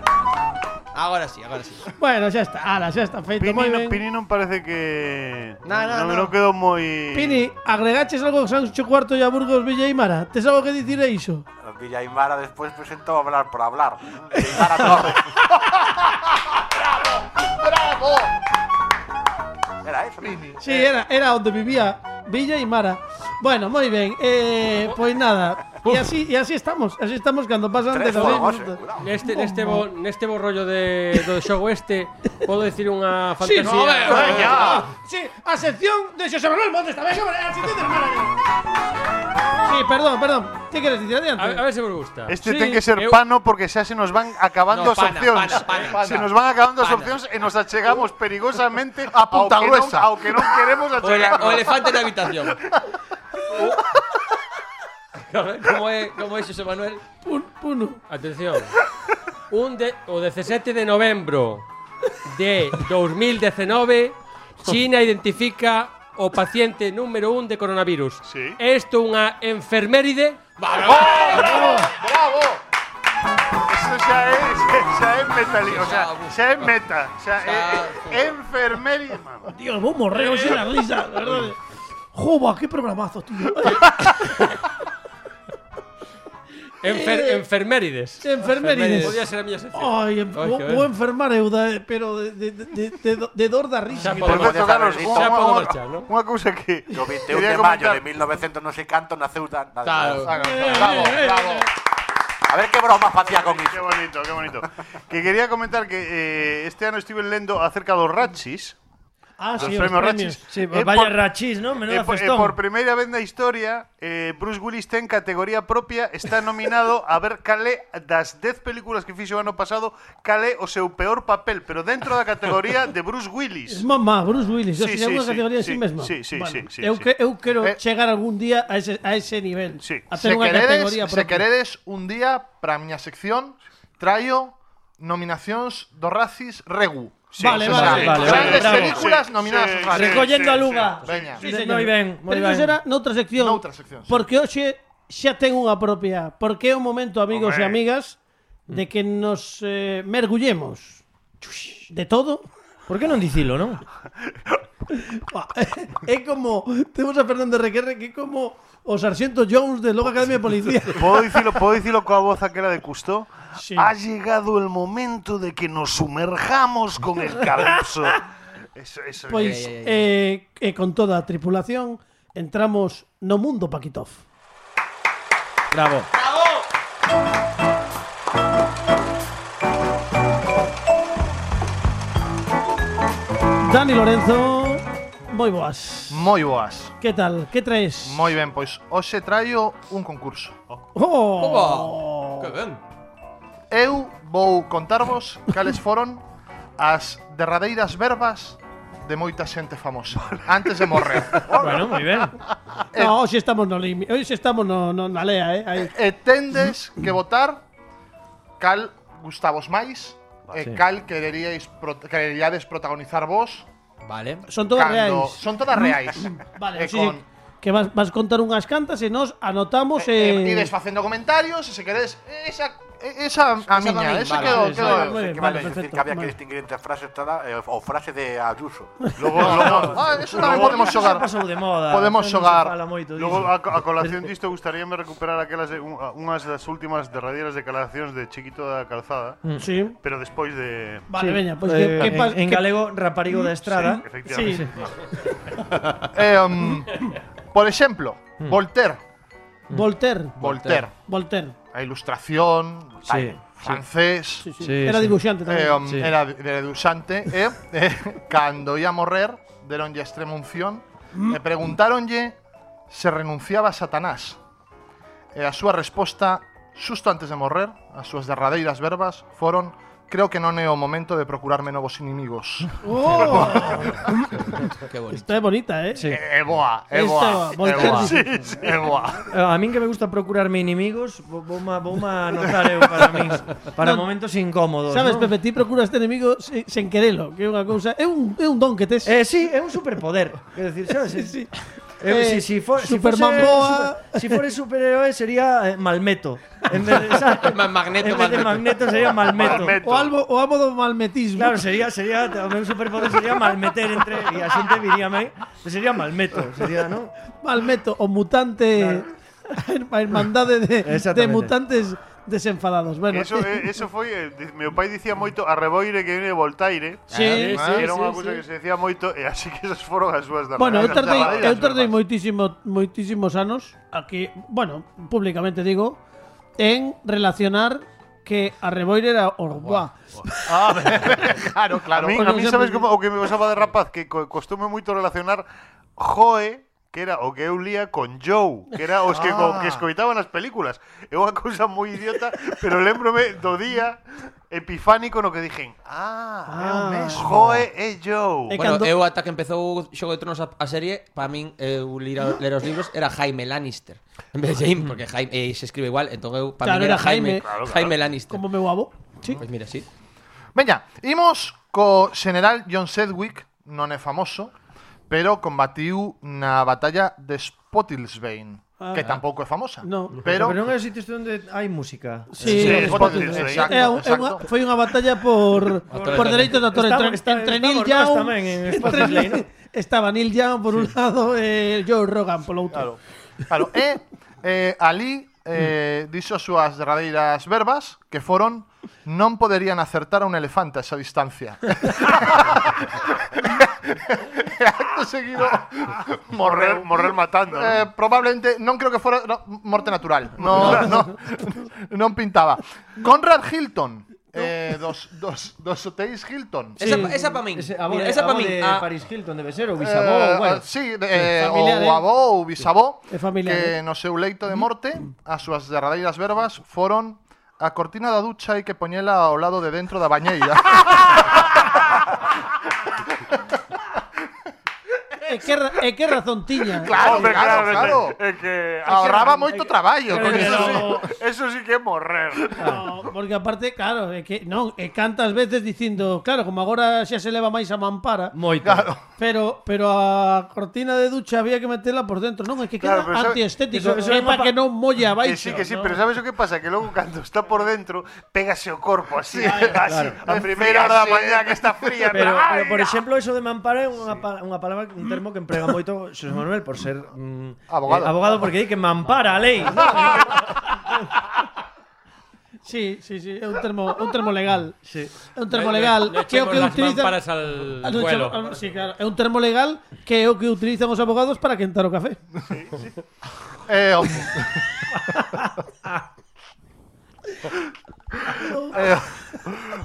Speaker 7: Agora sí, agora sí.
Speaker 2: bueno, xa está, ala, xa está feito.
Speaker 4: Pini,
Speaker 2: moi
Speaker 4: no,
Speaker 2: ben.
Speaker 4: Pini non parece que...
Speaker 7: Na, na,
Speaker 4: non,
Speaker 7: na.
Speaker 4: non quedou moi...
Speaker 2: Pini, agregaches algo a Sancho Cuarto e a Burgos Villaimara? Tes algo que dicir a iso?
Speaker 8: Villaimara después presentó Hablar por Hablar. Villaimara Torres.
Speaker 3: Bravo.
Speaker 8: Era eso.
Speaker 2: Sí, era, era onde vivía Villa y Mara. Bueno, moi ben. Eh, pois nada. E así, e así estamos. Así estamos cando pasan
Speaker 8: Tres
Speaker 2: 16
Speaker 8: formos, eh,
Speaker 2: minutos.
Speaker 8: cuidado.
Speaker 6: Neste, neste, este, bo, neste bo rollo de, do xogo este Podo dicir unha
Speaker 2: Sí,
Speaker 6: fantasía
Speaker 2: no, eh,
Speaker 7: Venga.
Speaker 2: ah, sí, a sección de José Manuel Montes tamén, hombre, a sección de Mara. Sí, perdón, perdón. Que queres dicir adiante?
Speaker 6: a, a ver se vos gusta
Speaker 4: Este
Speaker 6: Sí, Eh,
Speaker 4: ten que ser
Speaker 6: eu-
Speaker 4: pano porque xa se nos van acabando
Speaker 7: No,
Speaker 4: as
Speaker 7: pana,
Speaker 4: opcións.
Speaker 7: pana, pana.
Speaker 4: se nos van acabando as
Speaker 7: Pana.
Speaker 4: opcións e nos achegamos perigosamente
Speaker 3: A punta
Speaker 4: ao que
Speaker 3: gruesa.
Speaker 4: Non, ao que non queremos
Speaker 7: O, ele,
Speaker 4: achegarnos.
Speaker 7: o elefante na habitación. como é, como é Xosé Manuel?
Speaker 2: Pun- puno.
Speaker 6: Atención. Un de, o 17 de novembro de 2019, China identifica o paciente número un de coronavirus.
Speaker 4: Sí.
Speaker 6: Esto unha enferméride.
Speaker 4: Bravo. Eso xa é, xa é metali, o sea, xa é meta, xa é
Speaker 3: eh,
Speaker 7: Xa-
Speaker 4: eh, enfermería.
Speaker 2: Dios, vou morrer hoxe la risa, de verdade. Jova, que Eh. programazo, tío.
Speaker 6: Enfer, enfermérides.
Speaker 2: Enfermerides.
Speaker 6: Podía ser a miña sección.
Speaker 2: Ai, em-
Speaker 6: Ai,
Speaker 2: vou,
Speaker 6: que
Speaker 2: vou
Speaker 6: ben.
Speaker 2: enfermar eu, da, pero de, de, de, de, de dor da
Speaker 6: Xa
Speaker 2: risa.
Speaker 7: Por
Speaker 6: podemos-
Speaker 4: Por certo, Carlos,
Speaker 8: Xa
Speaker 4: unha,
Speaker 6: podemos
Speaker 4: unha,
Speaker 6: marchar, ¿no?
Speaker 4: unha cousa que...
Speaker 8: O 21
Speaker 4: quería
Speaker 8: de mayo
Speaker 4: comentar.
Speaker 8: de 1900 no sé canto naceu da, da-
Speaker 7: Claro.
Speaker 2: Eh,
Speaker 4: Bravo, bravo.
Speaker 8: A ver qué bromas facía con
Speaker 4: Qué
Speaker 8: iso.
Speaker 4: bonito, qué bonito. que quería comentar que eh, este ano estuve lendo acerca dos rachis.
Speaker 2: Ah,
Speaker 4: Los
Speaker 2: sí, os
Speaker 4: premios
Speaker 2: premios.
Speaker 4: Ratchis.
Speaker 5: Sí,
Speaker 4: Eh,
Speaker 5: vaya
Speaker 4: por-
Speaker 5: rachis, ¿no?
Speaker 4: E
Speaker 5: Menuda
Speaker 4: por, e
Speaker 5: festón.
Speaker 4: por primeira vez na historia, eh, Bruce Willis ten categoría propia, está nominado a ver calé das 10 películas que fixo o ano pasado, calé o seu peor papel, pero dentro da categoría de Bruce
Speaker 2: Es
Speaker 4: Willis.
Speaker 2: mamá, Bruce Willis,
Speaker 4: Sí,
Speaker 2: sí,
Speaker 4: sí,
Speaker 2: sí, unha
Speaker 4: sí,
Speaker 2: categoría en sí,
Speaker 4: sí,
Speaker 2: mesma.
Speaker 4: sí, sí, sí, sí,
Speaker 2: eu,
Speaker 4: sí.
Speaker 2: que, eu quero
Speaker 3: Eh,
Speaker 2: chegar algún día a ese, a ese nivel.
Speaker 4: Sí.
Speaker 2: A ter
Speaker 3: Se
Speaker 2: unha
Speaker 3: queredes,
Speaker 2: categoría
Speaker 3: se
Speaker 2: propia.
Speaker 3: queredes un día para a miña sección traio nominacións do Racis Regu.
Speaker 2: vale,
Speaker 3: O
Speaker 2: vale,
Speaker 3: sea,
Speaker 2: vale, vale,
Speaker 3: grandes
Speaker 5: bravo.
Speaker 3: películas
Speaker 4: Sí,
Speaker 3: nominadas
Speaker 4: sí,
Speaker 3: aos
Speaker 4: sí,
Speaker 3: Razzies.
Speaker 4: sí,
Speaker 5: Recollendo a Luga.
Speaker 3: Veña.
Speaker 2: Sí,
Speaker 5: Moi
Speaker 2: señor.
Speaker 5: ben, moi
Speaker 2: Pero iso
Speaker 5: ben.
Speaker 2: era noutra sección.
Speaker 3: Noutra sección, sí.
Speaker 2: Porque hoxe xa ten unha propia. Porque é o momento, amigos e
Speaker 4: Hombre.
Speaker 2: amigas, de que nos eh, mergullemos de todo.
Speaker 5: Por que non dicilo, non?
Speaker 2: Buah, é como temos a Fernando Requerre que é como o sarxento Jones de Logo Academia de Policía.
Speaker 4: Podo dicilo, podo dicilo coa voz aquela de Cousteau?
Speaker 2: Sí.
Speaker 4: Ha llegado el momento de que nos sumerjamos con el calipso. Eso, eso,
Speaker 2: Pois
Speaker 7: Ai, ai, ai.
Speaker 2: eh, eh, con toda a tripulación entramos no mundo Paquitov.
Speaker 5: Bravo.
Speaker 2: Dani Lorenzo, moi boas.
Speaker 3: Moi boas.
Speaker 2: Que tal? Que traes?
Speaker 3: Moi ben, pois hoxe traio un concurso.
Speaker 2: Oh.
Speaker 7: Oba. Que ben.
Speaker 3: Eu vou contarvos cales foron as derradeiras verbas de moita xente famosa antes de morrer.
Speaker 5: Bueno, moi ben.
Speaker 3: Eh.
Speaker 2: No, hoxe estamos no limi, hoxe estamos no, no na lea, eh. Aí.
Speaker 3: E tendes que votar cal gustavos máis e cal quereríais prot- quereríades protagonizar vos
Speaker 7: Vale.
Speaker 2: Son todas
Speaker 3: cando-
Speaker 2: reais.
Speaker 3: Son todas reais.
Speaker 2: Vale,
Speaker 3: e
Speaker 2: sí,
Speaker 3: con
Speaker 2: sí, que vas, vas contar unhas cantas e nos anotamos
Speaker 3: e,
Speaker 2: eh,
Speaker 3: ides facendo comentarios e se queredes esa esa a
Speaker 7: Esa da
Speaker 3: miña,
Speaker 7: min,
Speaker 3: esa
Speaker 7: vale,
Speaker 3: quedou,
Speaker 2: vale,
Speaker 3: quedou.
Speaker 2: vale, vale.
Speaker 8: Que vale decir
Speaker 2: perfecto,
Speaker 8: que había
Speaker 2: vale.
Speaker 8: que distinguir entre frases tada- eh, o frases de Ayuso.
Speaker 4: Logo,
Speaker 3: Ah, eso tamén podemos xogar.
Speaker 5: Pasou de moda.
Speaker 3: Podemos
Speaker 5: non se
Speaker 3: xogar.
Speaker 5: fala moito diso.
Speaker 4: Logo, a, a colación disto, gustaríame recuperar aquelas de, un- a- unhas das últimas derradeiras declaracións de Chiquito da Calzada,
Speaker 2: Mm. Sí.
Speaker 4: pero despois de...
Speaker 2: Vale, veña, pois que,
Speaker 5: Eh,
Speaker 2: que, pas-
Speaker 5: en, en
Speaker 2: que-
Speaker 5: galego, raparigo da estrada.
Speaker 4: Efectivamente.
Speaker 2: Sí.
Speaker 3: Eh, um, por exemplo,
Speaker 4: Hmm.
Speaker 3: Voltaire,
Speaker 2: Voltaire,
Speaker 3: Mm. Voltaire,
Speaker 2: Voltaire.
Speaker 3: a ilustración,
Speaker 5: Sí.
Speaker 3: francés.
Speaker 5: Sí,
Speaker 2: Era
Speaker 5: sí.
Speaker 2: dibuixante tamén.
Speaker 3: Eh, um,
Speaker 5: Sí.
Speaker 3: Era deduxante E eh, cando ia morrer Deronlle a extremunción E preguntaronlle Se renunciaba a Satanás E a súa resposta Xusto antes de morrer As súas derradeiras verbas foron Creo que non é o momento de procurarme novos inimigos
Speaker 2: Oh,
Speaker 7: Qué bonito.
Speaker 2: esta é bonita, eh?
Speaker 5: Sí.
Speaker 3: É boa, é
Speaker 2: Esta é boa,
Speaker 3: boa É boa,
Speaker 2: Voltaire.
Speaker 3: é boa
Speaker 5: Eh, A min que me gusta procurarme inimigos, vou vou ma- vou ma anotar eu para min, para momentos incómodos,
Speaker 2: Sabes,
Speaker 5: non?
Speaker 2: Pepe, ti procuras este enemigo sen, sen querelo, que é unha cousa, é un, é un don que tes.
Speaker 5: Eh, sí, é un superpoder. Quero dicir, sabes?
Speaker 2: sí.
Speaker 5: Eu,
Speaker 2: Eh,
Speaker 5: si, si, for, si
Speaker 2: Superman
Speaker 5: fose,
Speaker 2: boa.
Speaker 5: super- si fore superhéroe sería eh, Malmeto. En vez de, ¿sabes?
Speaker 7: Ma- Magneto,
Speaker 5: en vez de
Speaker 7: Magneto.
Speaker 5: Magneto sería Malmeto.
Speaker 3: Malmeto.
Speaker 2: O, albo, o amo do malmetismo.
Speaker 5: Claro, sería, sería, o meu superpoder sería malmeter entre, e a xente viríame, sería Malmeto, sería, ¿no?
Speaker 2: Malmeto, o mutante... A hermandade de, de
Speaker 5: Exactamente.
Speaker 2: mutantes desenfadados. Bueno,
Speaker 4: Eso, eh, eso foi, eh, di- meu pai dicía moito a reboire que viene de Voltaire. ¿eh?
Speaker 2: Sí,
Speaker 4: que
Speaker 2: sí,
Speaker 4: era unha
Speaker 2: sí,
Speaker 4: cousa
Speaker 2: sí.
Speaker 4: que se decía moito, e así que esas foron as súas
Speaker 2: Bueno, eu tardei,
Speaker 4: derradeiras
Speaker 2: eu tardei
Speaker 4: verbas.
Speaker 2: moitísimo, moitísimos anos aquí, bueno, públicamente digo, en relacionar que a Reboir era Orboa.
Speaker 3: Ah, Claro,
Speaker 4: A
Speaker 3: claro
Speaker 4: mí, a
Speaker 2: Porque
Speaker 4: mí
Speaker 2: sempre-
Speaker 4: sabes como o que me pasaba de rapaz que co costume moito relacionar Joe que era o que eu lía con Joe, que era os que, co-
Speaker 3: Ah.
Speaker 4: que escoitaban as películas. É unha cousa moi idiota, pero lembrome do día epifánico no que dixen, ah,
Speaker 2: Ah.
Speaker 4: ah Joe e Joe.
Speaker 2: E
Speaker 7: Bueno,
Speaker 2: cando-
Speaker 7: eu ata que empezou Xogo de Tronos a, a serie, para min eu lir, a- ler os libros era Jaime Lannister. En vez de Jaime, porque Jaime eh, se escribe igual, entón eu para
Speaker 2: Claro,
Speaker 7: min era,
Speaker 2: era Jaime.
Speaker 7: Jaime,
Speaker 4: Claro, claro.
Speaker 7: Jaime Lannister.
Speaker 2: Como meu avó. Sí.
Speaker 7: Pois mira, sí.
Speaker 3: Veña, imos co general John Sedgwick, non é famoso, pero combatiu na batalla de Spottisbaine,
Speaker 2: Ah.
Speaker 3: que tampouco é famosa.
Speaker 2: No.
Speaker 3: Pero,
Speaker 5: non é os sitios onde hai música. Eh,
Speaker 2: Sí,
Speaker 3: Sí,
Speaker 2: sí,
Speaker 3: Spotted, exacto,
Speaker 2: é un- é unha-
Speaker 3: exacto.
Speaker 2: foi unha batalla por
Speaker 7: Autores
Speaker 2: por
Speaker 7: tamén.
Speaker 2: dereitos de autor
Speaker 5: Estamos-
Speaker 2: entre,
Speaker 5: está-
Speaker 2: entre
Speaker 5: estamos
Speaker 2: Neil
Speaker 5: nós
Speaker 2: Young
Speaker 5: tamén en
Speaker 2: entre
Speaker 5: Spotted Lane,
Speaker 2: Neil- estaba Neil Young por un lado e Joe Rogan polo outro.
Speaker 3: claro, claro, e eh, ali eh, dixo as súas derradeiras verbas que foron non poderían acertar a un elefante a esa distancia. E Acto seguido
Speaker 4: Morrer,
Speaker 3: morreu.
Speaker 4: morrer matando. ¿no?
Speaker 3: Eh, probablemente, non creo que fora no, morte natural. No, no, non pintaba. Conrad Hilton, eh, dos, dos, dos hotéis Hilton.
Speaker 7: Esa, esa para min.
Speaker 5: Ese, avó
Speaker 7: mira,
Speaker 5: de-
Speaker 7: esa para
Speaker 5: avó
Speaker 7: min.
Speaker 5: de
Speaker 7: Ah,
Speaker 5: Paris Hilton debe ser, ou
Speaker 3: Eh,
Speaker 5: bisavó, bueno.
Speaker 3: ah, Sí, eh,
Speaker 2: familiar,
Speaker 3: o
Speaker 2: eh.
Speaker 3: avó ou bisavó
Speaker 2: É familiar, eh.
Speaker 3: Que no seu leito de morte As súas derradeiras verbas foron A cortina da ducha hai que poñela ao lado de dentro da bañeira
Speaker 2: E que ra- e que razón tiña.
Speaker 4: Hombre,
Speaker 3: claro, claro.
Speaker 4: É que,
Speaker 3: Ahorraba moito traballo con
Speaker 4: eso,
Speaker 3: eso.
Speaker 4: sí, eso sí que é morrer.
Speaker 2: No, Ah, porque aparte, claro, é que non, e cantas veces dicindo, claro, como agora xa se leva máis a mampara,
Speaker 5: Moito.
Speaker 2: pero pero a cortina de ducha había que metela por dentro, non, é que queda
Speaker 4: Claro, pero sabe-
Speaker 2: antiestético,
Speaker 5: eso- eso
Speaker 2: é
Speaker 5: é
Speaker 2: para
Speaker 5: mapa-
Speaker 2: que non
Speaker 4: Que
Speaker 2: molle abaixo.
Speaker 4: sí, que sí,
Speaker 2: ¿no?
Speaker 4: pero ¿sabes o que pasa? Que luego cuando está por dentro, pégase o corpo así, así, a primeira hora da mañá que está fría.
Speaker 5: Pero,
Speaker 4: ¡ay!
Speaker 5: pero, por exemplo, eso de mampara é unha, pa- unha palabra, un termo que emprega moito Xosé Manuel por ser mm,
Speaker 3: Abogado.
Speaker 5: eh, abogado porque di que mampara a lei. ¿no?
Speaker 2: Sí, sí, sí, é un termo, é un termo legal.
Speaker 5: Sí. Eh,
Speaker 2: É un termo legal
Speaker 6: No
Speaker 2: que é o
Speaker 6: echemos
Speaker 2: que
Speaker 6: las
Speaker 2: utilizan
Speaker 6: mamparas al
Speaker 2: Ah, non,
Speaker 6: vuelo.
Speaker 2: chamo- ah, sí, claro. É un termo legal que é o que utilizan os abogados para quentar o café.
Speaker 3: Eh, o- Eh,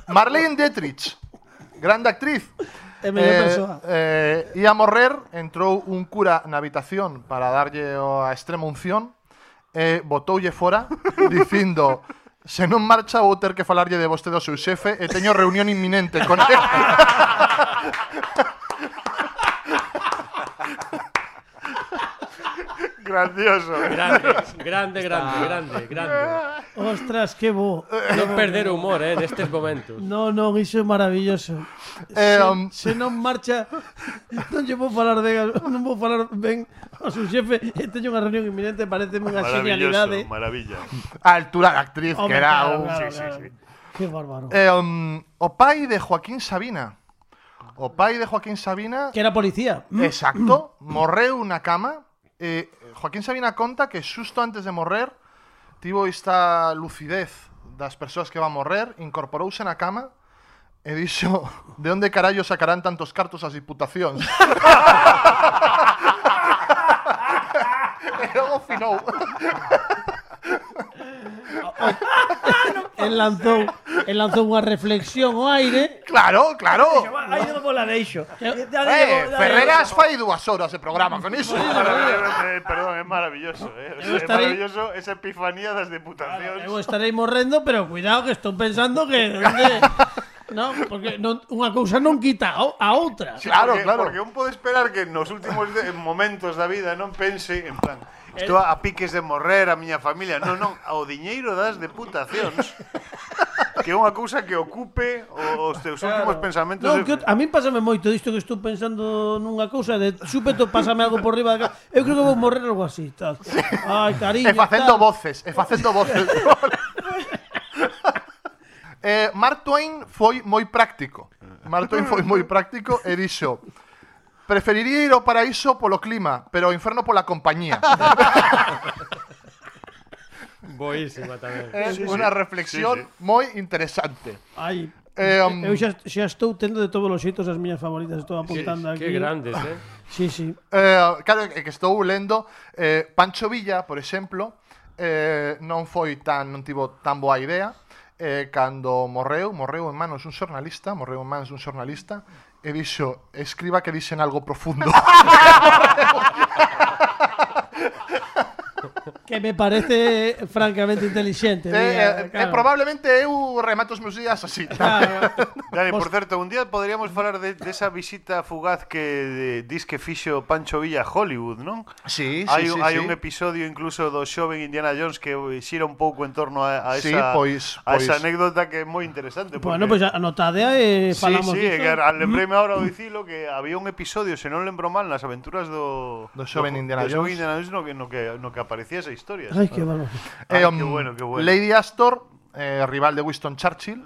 Speaker 3: Marlene Dietrich, grande actriz.
Speaker 2: É mellor
Speaker 3: Eh,
Speaker 2: persoa.
Speaker 3: eh, ia morrer, entrou un cura na habitación para darlle o- a extrema unción e botoulle fora dicindo Se non marcha vou ter que falarlle de vostede ao seu xefe e teño reunión inminente con ele.
Speaker 4: Grandioso.
Speaker 6: Grande, grande, grande, grande, grande.
Speaker 2: Ostras, que bo.
Speaker 6: Non perder o humor, eh, nestes momentos.
Speaker 2: No, no, iso é maravilloso.
Speaker 3: Eh,
Speaker 2: se,
Speaker 3: um,
Speaker 2: se non marcha, non lle vou falar de, non vou falar ben ao seu xefe, e teño unha reunión inminente, pareceme unha genialidade.
Speaker 4: Maravilloso, maravilla.
Speaker 3: A altura da actriz
Speaker 2: Home,
Speaker 3: que era
Speaker 2: claro,
Speaker 3: un...
Speaker 2: claro,
Speaker 4: sí,
Speaker 2: claro.
Speaker 4: sí.
Speaker 2: Que bárbaro.
Speaker 3: Eh, um, o pai de Joaquín Sabina. O pai de Joaquín Sabina,
Speaker 2: Que era policía.
Speaker 3: eh, exacto, morreu na cama. Eh, Joaquín Sabina conta que xusto antes de morrer tivo esta lucidez das persoas que va a morrer, incorporouse na cama e dixo de onde carallo sacarán tantos cartos as diputacións. e logo finou.
Speaker 2: El, lanzou, el lanzou unha reflexión ao aire
Speaker 3: Claro, claro.
Speaker 5: Aí non vou la deixo.
Speaker 2: Eh,
Speaker 3: Eh, Ferreras fai dúas horas de programa con iso.
Speaker 4: Maravilloso, eh, Perdón, es maravilloso. eh.
Speaker 2: Eu
Speaker 4: Es
Speaker 2: estarei-
Speaker 4: maravilloso esa epifanía das
Speaker 2: Eu
Speaker 4: deputacións.
Speaker 2: estarei morrendo, pero cuidado que estou pensando que No, porque non, unha cousa non quita a, a outra.
Speaker 4: Sí,
Speaker 3: Claro,
Speaker 4: porque,
Speaker 3: claro.
Speaker 4: Porque uno puede esperar que los últimos de- momentos da vida no pense en plan Estou a piques de morrer a miña familia No, no, ao diñeiro das deputacións Que é unha cousa que ocupe o- os teus últimos pensamentos
Speaker 2: Non,
Speaker 4: de-
Speaker 2: que, a min pásame moito disto que estou pensando nunha cousa de súpeto pásame algo por riba da ca- Eu creo que vou morrer algo así, tal. Ai, cariño.
Speaker 3: E facendo
Speaker 2: tal.
Speaker 3: voces, e facendo voces. eh, Mark Twain foi moi práctico. Mark Twain foi moi práctico e dixo Preferiría ir ao paraíso polo clima, pero ao inferno pola compañía.
Speaker 6: Boísima tamén.
Speaker 3: É unha reflexión
Speaker 4: Sí,
Speaker 3: moi interesante.
Speaker 2: Ai.
Speaker 3: Eh, um,
Speaker 2: eu xa, xa estou tendo de todos os xeitos as miñas favoritas, estou apuntando aquí.
Speaker 6: Qué grandes, eh.
Speaker 2: Sí, sí.
Speaker 3: Eh, claro, é que estou lendo eh, Pancho Villa, por exemplo, eh, non foi tan non tivo tan boa idea eh, cando morreu, morreu en manos un xornalista, morreu en manos un xornalista e dixo, escriba que dixen algo profundo.
Speaker 2: Que me parece francamente inteligente.
Speaker 3: eh,
Speaker 2: mira,
Speaker 3: eh, eh, probablemente eu remato os meus días así.
Speaker 2: Claro.
Speaker 4: Dani, por certo, un día podríamos falar de, desa visita fugaz que de, dis que fixo Pancho Villa a Hollywood, non?
Speaker 3: Sí, sí,
Speaker 4: hai
Speaker 3: sí,
Speaker 4: un, hai
Speaker 3: sí.
Speaker 4: un episodio incluso do xoven Indiana Jones que xira un pouco en torno a, a esa,
Speaker 3: Sí, pois-
Speaker 4: a esa
Speaker 3: pois.
Speaker 4: anécdota que é moi interesante. Porque...
Speaker 2: Bueno, pois pues, anotade e
Speaker 4: Sí,
Speaker 2: falamos
Speaker 4: sí,
Speaker 2: disto.
Speaker 4: que ahora- lembreme ahora o dicilo que había un episodio, se non lembro mal, nas aventuras do...
Speaker 3: Do xoven Indiana
Speaker 4: do xoven
Speaker 3: Jones.
Speaker 4: Indiana Jones no que, no, que, no que aparecía esa historia.
Speaker 2: Ai, que bueno.
Speaker 4: Ay,
Speaker 3: Eh, um,
Speaker 4: qué bueno, qué bueno.
Speaker 3: Lady Astor, eh, rival de Winston Churchill,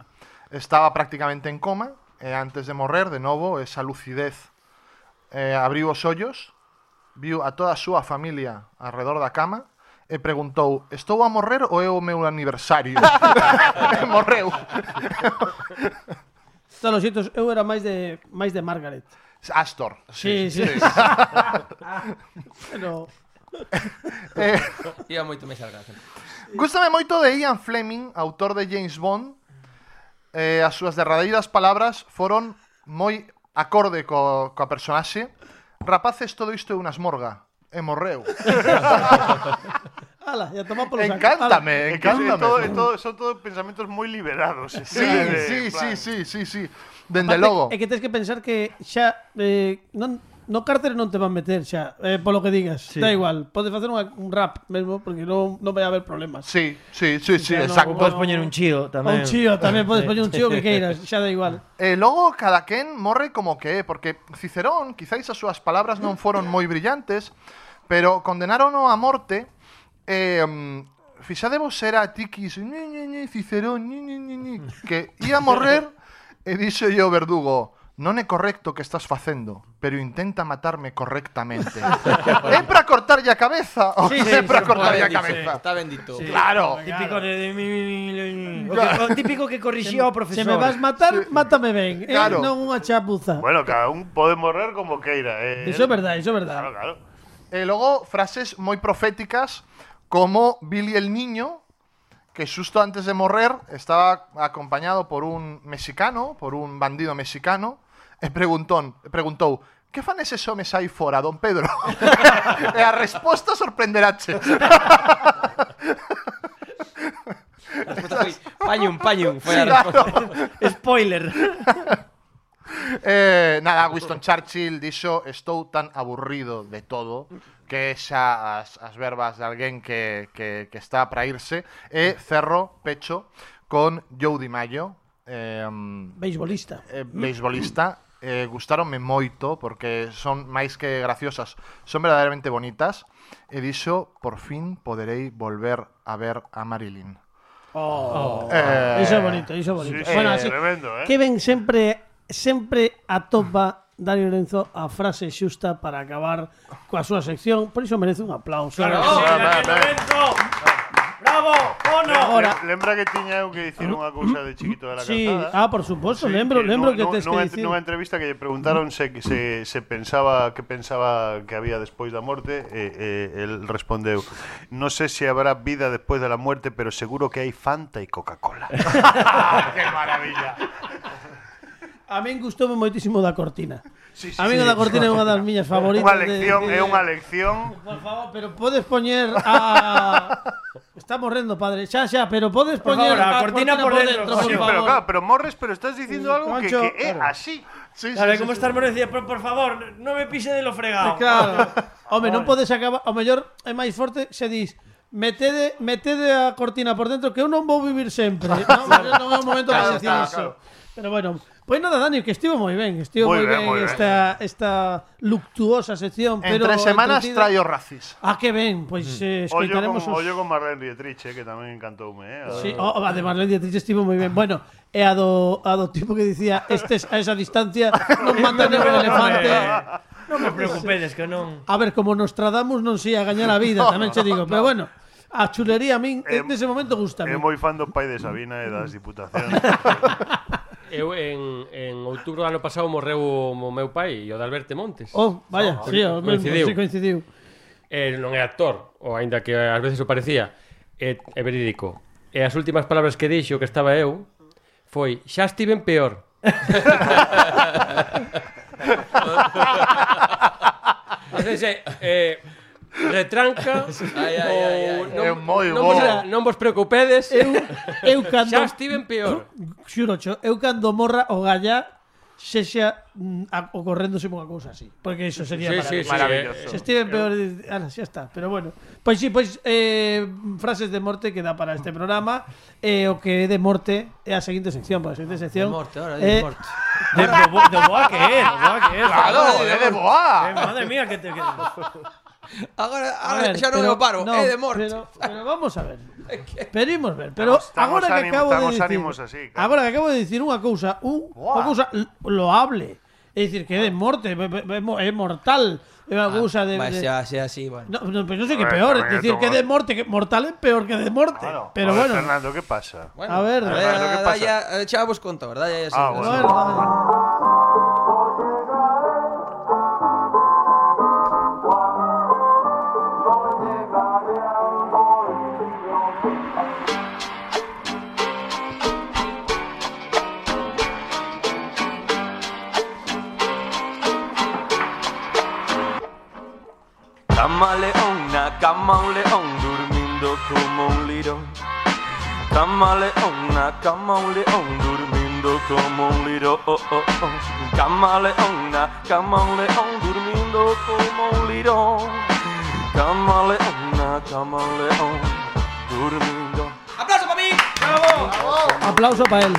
Speaker 3: estaba prácticamente en coma eh, antes de morrer, de novo, esa lucidez eh, abriu os ollos, viu a toda a súa familia alrededor da cama e preguntou, estou a morrer ou é o meu aniversario? E morreu.
Speaker 2: Todos os xeitos, eu era máis de máis de Margaret.
Speaker 3: Astor.
Speaker 2: Sí, sí. Pero
Speaker 3: Eh,
Speaker 7: Iba moito máis al gracia.
Speaker 3: Gústame moito de Ian Fleming, autor de James Bond. Eh, as súas derradeiras palabras foron moi acorde co, coa personaxe. Rapaces, todo isto é unha esmorga. E morreu.
Speaker 2: ala, ya toma polo saco. Ala.
Speaker 3: Encántame,
Speaker 4: É que é
Speaker 3: encántame.
Speaker 4: todo, é todo, son todos pensamentos moi liberados. de-
Speaker 3: Sí, sí,
Speaker 4: en
Speaker 3: sí,
Speaker 4: plan,
Speaker 3: sí, sí, sí. Dende
Speaker 2: Aparte,
Speaker 3: logo.
Speaker 2: É que tens que pensar que xa eh, non no cárter non te van meter xa, eh, polo que digas. Sí. Da igual, podes facer unha, un rap mesmo porque non non vai haber problemas.
Speaker 3: Sí, sí, sí, sí,
Speaker 2: no,
Speaker 3: exacto.
Speaker 2: bueno.
Speaker 5: Podes poñer un chío
Speaker 2: Ou
Speaker 5: tamén.
Speaker 2: un chío, tamén podes poñer un chío que queiras, xa da igual.
Speaker 3: E logo cada quen morre como que é, porque Cicerón, quizáis as súas palabras non foron moi brillantes, pero condenarono a morte e mm, fixadevos era a tiquis, "Ni, ni, ni, Cicerón, ni, ni, ni, ni", que ia morrer e dixo o verdugo, non é correcto o que estás facendo, pero intenta matarme correctamente. é para cortarlle a cabeza, ou
Speaker 2: Sí,
Speaker 3: é
Speaker 2: sí,
Speaker 3: para
Speaker 2: sí,
Speaker 3: cortarlle a
Speaker 7: Bendito,
Speaker 3: cabeza.
Speaker 7: Está bendito.
Speaker 3: Claro.
Speaker 5: Típico de, de- mi- mi- mi- o que- o típico que corrixía o
Speaker 2: Se
Speaker 5: profesor.
Speaker 2: me vas matar, mátame ben, eh?
Speaker 3: Claro.
Speaker 2: non unha chapuza.
Speaker 4: Bueno, cada un pode morrer como queira. Eh.
Speaker 2: Iso é verdade, iso é
Speaker 4: Claro,
Speaker 2: verdade.
Speaker 4: claro.
Speaker 3: E logo frases moi proféticas como Billy el Niño, que justo antes de morrer estaba acompañado por un mexicano, por un bandido mexicano, e preguntón, preguntou Que fan eses homes aí fora, don Pedro? e a resposta sorprenderache.
Speaker 7: Pañum, pañum. Foi a
Speaker 3: Claro.
Speaker 7: resposta.
Speaker 5: Spoiler.
Speaker 3: Eh, nada, Winston Churchill dixo Estou tan aburrido de todo Que xa as, as verbas de alguén que, que, que está para irse E cerro pecho con Joe Di Maio eh,
Speaker 2: Beisbolista.
Speaker 3: eh, Beisbolista eh, Gustaronme moito porque son máis que graciosas Son verdadeiramente bonitas E dixo Por fin poderei volver a ver a Marilyn Eh,
Speaker 2: Iso é bonito, iso é bonito.
Speaker 4: Sí, sí,
Speaker 2: bueno,
Speaker 4: eh,
Speaker 2: así,
Speaker 4: tremendo, eh.
Speaker 2: que ben sempre sempre atopa Dani Lorenzo a frase xusta para acabar coa súa sección, por iso merece un aplauso.
Speaker 5: Claro.
Speaker 4: Ah, ah, ah, ah.
Speaker 5: Bravo. Bravo, Bono.
Speaker 2: Ahora-
Speaker 4: Lem- Lembra que tiña eu que dicir unha cousa de chiquito de la
Speaker 2: Sí,
Speaker 4: calzada?
Speaker 2: ah, por suposto, lembro, lembro que te
Speaker 4: nunha,
Speaker 2: este dicindo.
Speaker 4: nunha entrevista que lle preguntaron se, se, se pensaba que pensaba que había despois da morte e, e el respondeu no sé se habrá vida despois da la muerte pero seguro que hai Fanta e Coca-Cola que maravilla
Speaker 2: A min gustoume moitísimo da cortina.
Speaker 4: Sí, sí,
Speaker 2: a min
Speaker 4: sí.
Speaker 2: o da cortina é unha das miñas favoritas.
Speaker 4: unha
Speaker 2: de-
Speaker 4: lección
Speaker 2: de-
Speaker 4: é unha lección
Speaker 2: Por favor, pero podes poñer a Está morrendo, padre. Xa, xa, pero podes
Speaker 5: Por
Speaker 2: poñer
Speaker 5: favor, a
Speaker 2: a
Speaker 5: cortina por dentro, por
Speaker 4: sí,
Speaker 2: por
Speaker 4: pero
Speaker 2: favor.
Speaker 4: claro, pero morres pero estás dicindo algo que,
Speaker 2: Concho,
Speaker 4: que é
Speaker 2: claro.
Speaker 4: así
Speaker 3: Sí,
Speaker 5: Claro,
Speaker 3: sí,
Speaker 5: é como
Speaker 3: sí,
Speaker 5: estar moreno e dicir, por, por favor, no me pise de lo fregado.
Speaker 2: Eh, Claro. Home, non podes acabar, o mellor é máis forte se dis Metede, metede a cortina por dentro que eu non vou vivir sempre. Non, non é o momento para
Speaker 3: Claro,
Speaker 2: dicir
Speaker 3: claro,
Speaker 2: iso.
Speaker 3: claro.
Speaker 2: Pero bueno, pois pues nada, Dani, que estivo moi ben, estivo moi
Speaker 4: Moi
Speaker 2: ben,
Speaker 4: ben, moi ben.
Speaker 2: esta esta luctuosa sección,
Speaker 3: En
Speaker 2: pero
Speaker 3: tres semanas
Speaker 2: entretida.
Speaker 3: traio racis.
Speaker 2: Ah, que ben, pois eh,
Speaker 3: Mm.
Speaker 4: Ollo con,
Speaker 2: escoitaremos os
Speaker 4: ollo con Marlene Dietrich, eh, que tamén encantoume. Eh, a-
Speaker 2: Sí, oh, a de Marlene Dietrich estivo moi ben. Bueno, e a do, a do tipo que dicía estes a esa distancia non matan o elefante.
Speaker 5: Non me preocupedes que non...
Speaker 2: A ver, como Nostradamus non se ia gañar a vida, tamén che digo. Pero bueno, a chulería a min
Speaker 4: Eh,
Speaker 2: nese momento gusta.
Speaker 4: É moi fan do pai de Sabina e das diputacións.
Speaker 6: Eu en, en outubro do ano pasado morreu o mo- meu pai, o de Alberto Montes.
Speaker 2: Oh, vaya, sí, o mesmo,
Speaker 6: coincidiu.
Speaker 2: sí, coincidiu.
Speaker 6: Eh, non é actor, ou aínda que ás veces o parecía, é, é verídico. E as últimas palabras que dixo que estaba eu foi xa estiven peor. non sei se eh, retranca
Speaker 7: Ai, ai, ai, ai.
Speaker 6: ou
Speaker 3: É moi
Speaker 6: non, vos,
Speaker 3: bo.
Speaker 6: non vos preocupedes,
Speaker 2: Eu, eu cando...
Speaker 6: xa estiven peor.
Speaker 2: Xurocho, eu cando morra o gallá sexa mm, a- ocorréndose unha cousa así. Porque iso sería
Speaker 6: Sí,
Speaker 2: para
Speaker 6: sí, sí,
Speaker 7: Maravilloso.
Speaker 2: Se Steven peor, ala, xa está, pero bueno. Pois si, pois eh, frases de morte que dá para este programa, eh, o que é de morte é a seguinte sección, para a
Speaker 5: Ah,
Speaker 2: seguinte sección.
Speaker 7: De morte, ahora,
Speaker 2: eh,
Speaker 7: de morte.
Speaker 5: De, do, bo- do boa que é, do boa que é.
Speaker 7: Claro,
Speaker 5: joder.
Speaker 7: é
Speaker 3: de boa.
Speaker 5: Eh, madre mía, que te... Que...
Speaker 7: Ah, Agora,
Speaker 2: Pues, a
Speaker 7: agora
Speaker 2: ver,
Speaker 7: xa non
Speaker 2: pero-
Speaker 7: o paro,
Speaker 2: no,
Speaker 7: é de morte.
Speaker 2: Pero, pero vamos a ver. Pero imos ver, pero
Speaker 4: Estamos
Speaker 2: agora que
Speaker 4: ánimo-
Speaker 2: acabo de
Speaker 4: estamos
Speaker 2: dicir,
Speaker 4: ánimos así, claro.
Speaker 2: agora que acabo de dicir unha cousa, un, unha cousa l- loable. É dicir que é de morte, é- é é mortal, é unha
Speaker 7: Ah,
Speaker 2: cousa de,
Speaker 7: Vai,
Speaker 2: de
Speaker 7: xa, xa, así, bueno.
Speaker 2: No, no, pero no sé qué
Speaker 4: A ver,
Speaker 2: peor.
Speaker 4: a ver,
Speaker 2: Es decir,
Speaker 4: toma.
Speaker 2: que de morte, que mortal es peor que de morte.
Speaker 4: Claro.
Speaker 2: pero
Speaker 4: A ver,
Speaker 2: bueno.
Speaker 4: Fernando, que pasa?
Speaker 7: Bueno,
Speaker 2: A ver.
Speaker 7: a ver,
Speaker 4: Fernando, ¿qué
Speaker 7: a-
Speaker 4: pasa?
Speaker 7: ya, ya vos conto, ¿verdad? Ya, ya, sí,
Speaker 4: Ah,
Speaker 7: ya,
Speaker 4: bueno.
Speaker 7: sí.
Speaker 2: Bueno, vale.
Speaker 9: Camaleona, camaleón, durmiendo como un lirón. Camaleona, camaleón, durmiendo como un lirón. Camaleona, camaleón, durmiendo como un lirón. Camaleona, camaleón, durmiendo.
Speaker 7: ¡Aplauso para mí!
Speaker 2: Aplauso para él.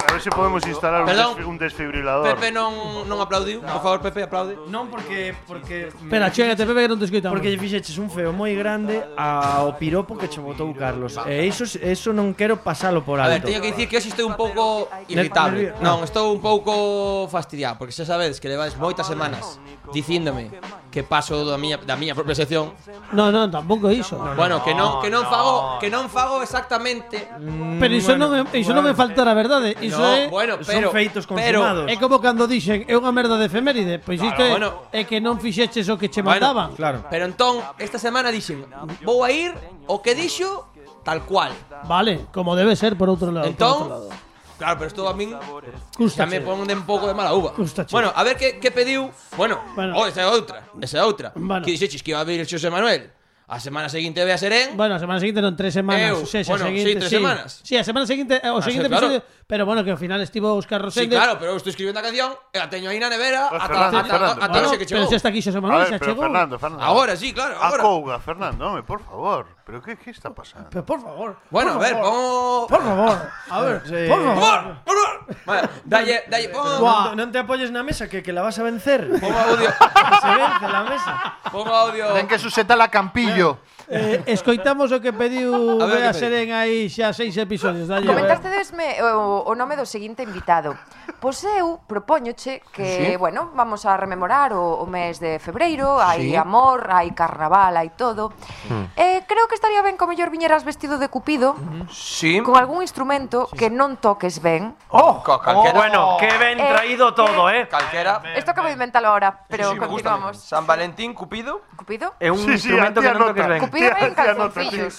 Speaker 4: A ver se podemos instalar un,
Speaker 7: Perdón.
Speaker 4: desfi- un desfibrilador.
Speaker 7: Pepe non, non aplaudiu, por favor, Pepe, aplaude.
Speaker 5: Non, porque... porque
Speaker 2: Espera, chégate, Pepe, que no te escuchamos.
Speaker 5: Porque lle fixeches un feo moi grande ao piropo que che botou Carlos. E iso, eso non quero pasalo por
Speaker 7: A ver,
Speaker 5: alto.
Speaker 7: teño que dicir que hoxe estou un pouco irritable.
Speaker 5: nervio-
Speaker 7: Non, estou un pouco fastidiado, porque xa sabedes que levades moitas semanas dicíndome que paso da miña da miña propia sección.
Speaker 2: No, no, tampoco hizo.
Speaker 7: Bueno, que non que non fago, que non fago exactamente.
Speaker 5: Mm,
Speaker 2: pero eso no me, eso no me falta la verdad. Eso
Speaker 7: No,
Speaker 2: es.
Speaker 7: bueno,
Speaker 5: son
Speaker 7: pero
Speaker 5: feitos
Speaker 7: pero eh,
Speaker 5: consumados.
Speaker 2: Es como cuando dicen, es una merda de efeméride. Pues isto é-
Speaker 7: bueno.
Speaker 2: é que non fixeches o que che
Speaker 7: Bueno,
Speaker 2: mandaban.
Speaker 5: Claro.
Speaker 7: pero entón esta semana dixen, vou a ir o que dixo tal cual.
Speaker 2: Vale, como debe ser por otro lado. por outro lado.
Speaker 7: Entón, claro, pero isto a min xa
Speaker 2: Gústache.
Speaker 7: me pon de un pouco de mala uva.
Speaker 2: Gústache.
Speaker 7: Bueno, a ver que, que pediu. Bueno,
Speaker 2: Bueno.
Speaker 7: oh, esa é outra, esa é outra.
Speaker 2: Bueno.
Speaker 7: Que dixeches que iba a vir Xosé Manuel. A semana seguinte ve a Serén.
Speaker 2: Bueno, a semana siguiente no, en tres semanas.
Speaker 7: Eu,
Speaker 2: sí, sí, a
Speaker 7: bueno,
Speaker 2: seguinte-
Speaker 7: sí, tres
Speaker 2: sí.
Speaker 7: semanas. Ah,
Speaker 2: Sí, a semana siguiente, eh, o siguiente
Speaker 7: claro.
Speaker 2: episodio. Pero bueno, que al final estivo Oscar
Speaker 7: Sí,
Speaker 2: Rosende.
Speaker 7: claro, pero eu estou escribindo a canción e a teño aí na nevera
Speaker 4: Pues
Speaker 7: ata
Speaker 4: Fernando,
Speaker 7: ata
Speaker 4: Fernando.
Speaker 7: ata hoxe
Speaker 2: Bueno,
Speaker 7: Ah, que
Speaker 2: pero
Speaker 7: chegou.
Speaker 2: xa está aquí Xosé
Speaker 4: A
Speaker 2: Manuel,
Speaker 4: ver,
Speaker 2: xa
Speaker 4: pero
Speaker 2: chegou.
Speaker 4: Fernando, Fernando.
Speaker 7: Agora sí, claro,
Speaker 4: A
Speaker 7: agora.
Speaker 4: couga, Fernando, home, por favor. Pero que que está pasando?
Speaker 2: Pero por favor.
Speaker 7: Bueno, a
Speaker 2: por
Speaker 7: ver,
Speaker 2: favor.
Speaker 7: pon
Speaker 2: Por favor, a ver,
Speaker 5: Sí.
Speaker 2: por
Speaker 7: Por
Speaker 2: favor.
Speaker 7: favor, por favor. Vale, dalle, dalle, pon,
Speaker 2: Buah.
Speaker 5: Non, non te apoyes na mesa que, que la vas a vencer.
Speaker 7: pon audio,
Speaker 5: Que se vence la mesa.
Speaker 7: pon audio.
Speaker 3: Ten que suseta la campillo.
Speaker 2: Eh, escoitamos o que pediu
Speaker 7: A ver,
Speaker 2: Bea
Speaker 7: que pediu.
Speaker 2: Seren aí xa seis episodios. Dalle, a ver.
Speaker 10: Comentastedesme o, o nome do seguinte invitado. Pois eu propóñoche que, sí. bueno, vamos a rememorar o, o mes de febreiro, hai sí.
Speaker 11: Sí.
Speaker 10: amor, hai carnaval, hai todo.
Speaker 11: Hmm.
Speaker 10: Eh, creo que estaría ben que o mellor viñeras vestido de cupido,
Speaker 11: Sí.
Speaker 10: con algún instrumento que non toques ben.
Speaker 11: Oh,
Speaker 7: calquera.
Speaker 5: Bueno, qué bien
Speaker 10: Eh,
Speaker 5: traído todo, ¿eh?
Speaker 7: Calquera.
Speaker 10: Esto acabo de inventalo ahora, pero
Speaker 7: Sí, sí, me gusta.
Speaker 10: continuamos.
Speaker 7: San Valentín, Cupido.
Speaker 10: Cupido?
Speaker 5: Es un
Speaker 4: Sí, sí,
Speaker 5: instrumento
Speaker 4: tía
Speaker 5: que no toques
Speaker 4: nota.
Speaker 5: ben.
Speaker 10: Cupido
Speaker 4: Tía-
Speaker 10: vai en
Speaker 4: tía nota, tío.
Speaker 10: calzoncillos.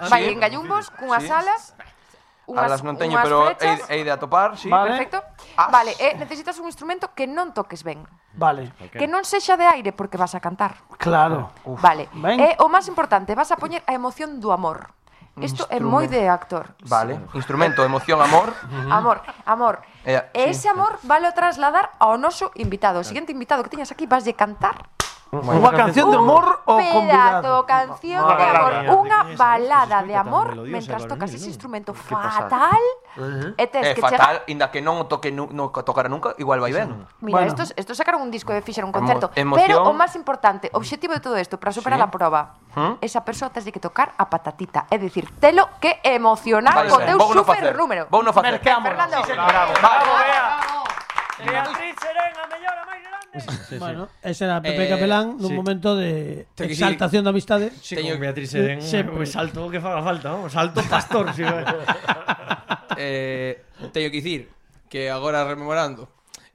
Speaker 5: Ah,
Speaker 10: Vai
Speaker 7: sí.
Speaker 10: en gallumbos, cunhas
Speaker 7: Sí.
Speaker 10: alas, unhas,
Speaker 7: Alas non teño,
Speaker 10: unhas
Speaker 7: pero
Speaker 10: frechas.
Speaker 7: hei, hei de atopar, sí.
Speaker 2: Vale.
Speaker 10: Perfecto. Vale, eh, necesitas un instrumento que non toques ben.
Speaker 2: Vale,
Speaker 10: Que non sexa de aire porque vas a cantar.
Speaker 2: claro.
Speaker 10: vale.
Speaker 2: ben.
Speaker 10: E o máis importante, vas a poñer a emoción do amor. Isto é moi de actor.
Speaker 7: Vale. Instrumento, emoción, amor.
Speaker 10: Amor, amor.
Speaker 7: Eh,
Speaker 10: E ese amor vale o trasladar ao noso invitado. O siguiente invitado que teñas aquí vas de cantar
Speaker 2: Unha canción de amor ou
Speaker 10: pedazo,
Speaker 2: convidado.
Speaker 10: canción
Speaker 3: Unha
Speaker 10: de amor,
Speaker 3: balada.
Speaker 10: unha
Speaker 5: Tiña esa,
Speaker 10: balada
Speaker 5: esa
Speaker 10: de
Speaker 5: escoita tan
Speaker 10: amor
Speaker 5: melodiosa e
Speaker 10: mentras
Speaker 5: varonil,
Speaker 10: tocas
Speaker 5: non?
Speaker 10: ese instrumento fatal e tes
Speaker 7: É
Speaker 10: que
Speaker 3: Ah.
Speaker 10: chegar
Speaker 7: fatal, inda que non o toque nu, non o tocara nunca, igual vai ben.
Speaker 10: Mira,
Speaker 2: Bueno.
Speaker 10: estos, estos sacaron un disco e fixeron un concerto.
Speaker 7: Emo-
Speaker 10: pero o
Speaker 7: emoción.
Speaker 10: máis importante, obxectivo de todo isto, para superar a proba,
Speaker 7: ¿Mm?
Speaker 10: esa persoa tes de que tocar a patatita. É dicir, telo que emocionar
Speaker 7: Vale,
Speaker 10: co
Speaker 7: ben,
Speaker 10: teu
Speaker 7: vou no
Speaker 10: super
Speaker 7: facer.
Speaker 10: número.
Speaker 7: Vou no facer.
Speaker 10: Fernando,
Speaker 5: Bravo, Bea. Beatriz Serena, mellor, a máis grande.
Speaker 2: Bueno, ese era Pepe
Speaker 7: Eh,
Speaker 2: Capelán nun
Speaker 5: sí.
Speaker 2: momento de
Speaker 7: Tengo que
Speaker 2: exaltación de amistade.
Speaker 5: Sí,
Speaker 7: Teño-
Speaker 5: con Beatriz Serena,
Speaker 2: Sempre.
Speaker 5: o salto que faga falta, ¿no? O salto pastor, sí, vai.
Speaker 7: eh, teño que dicir que agora rememorando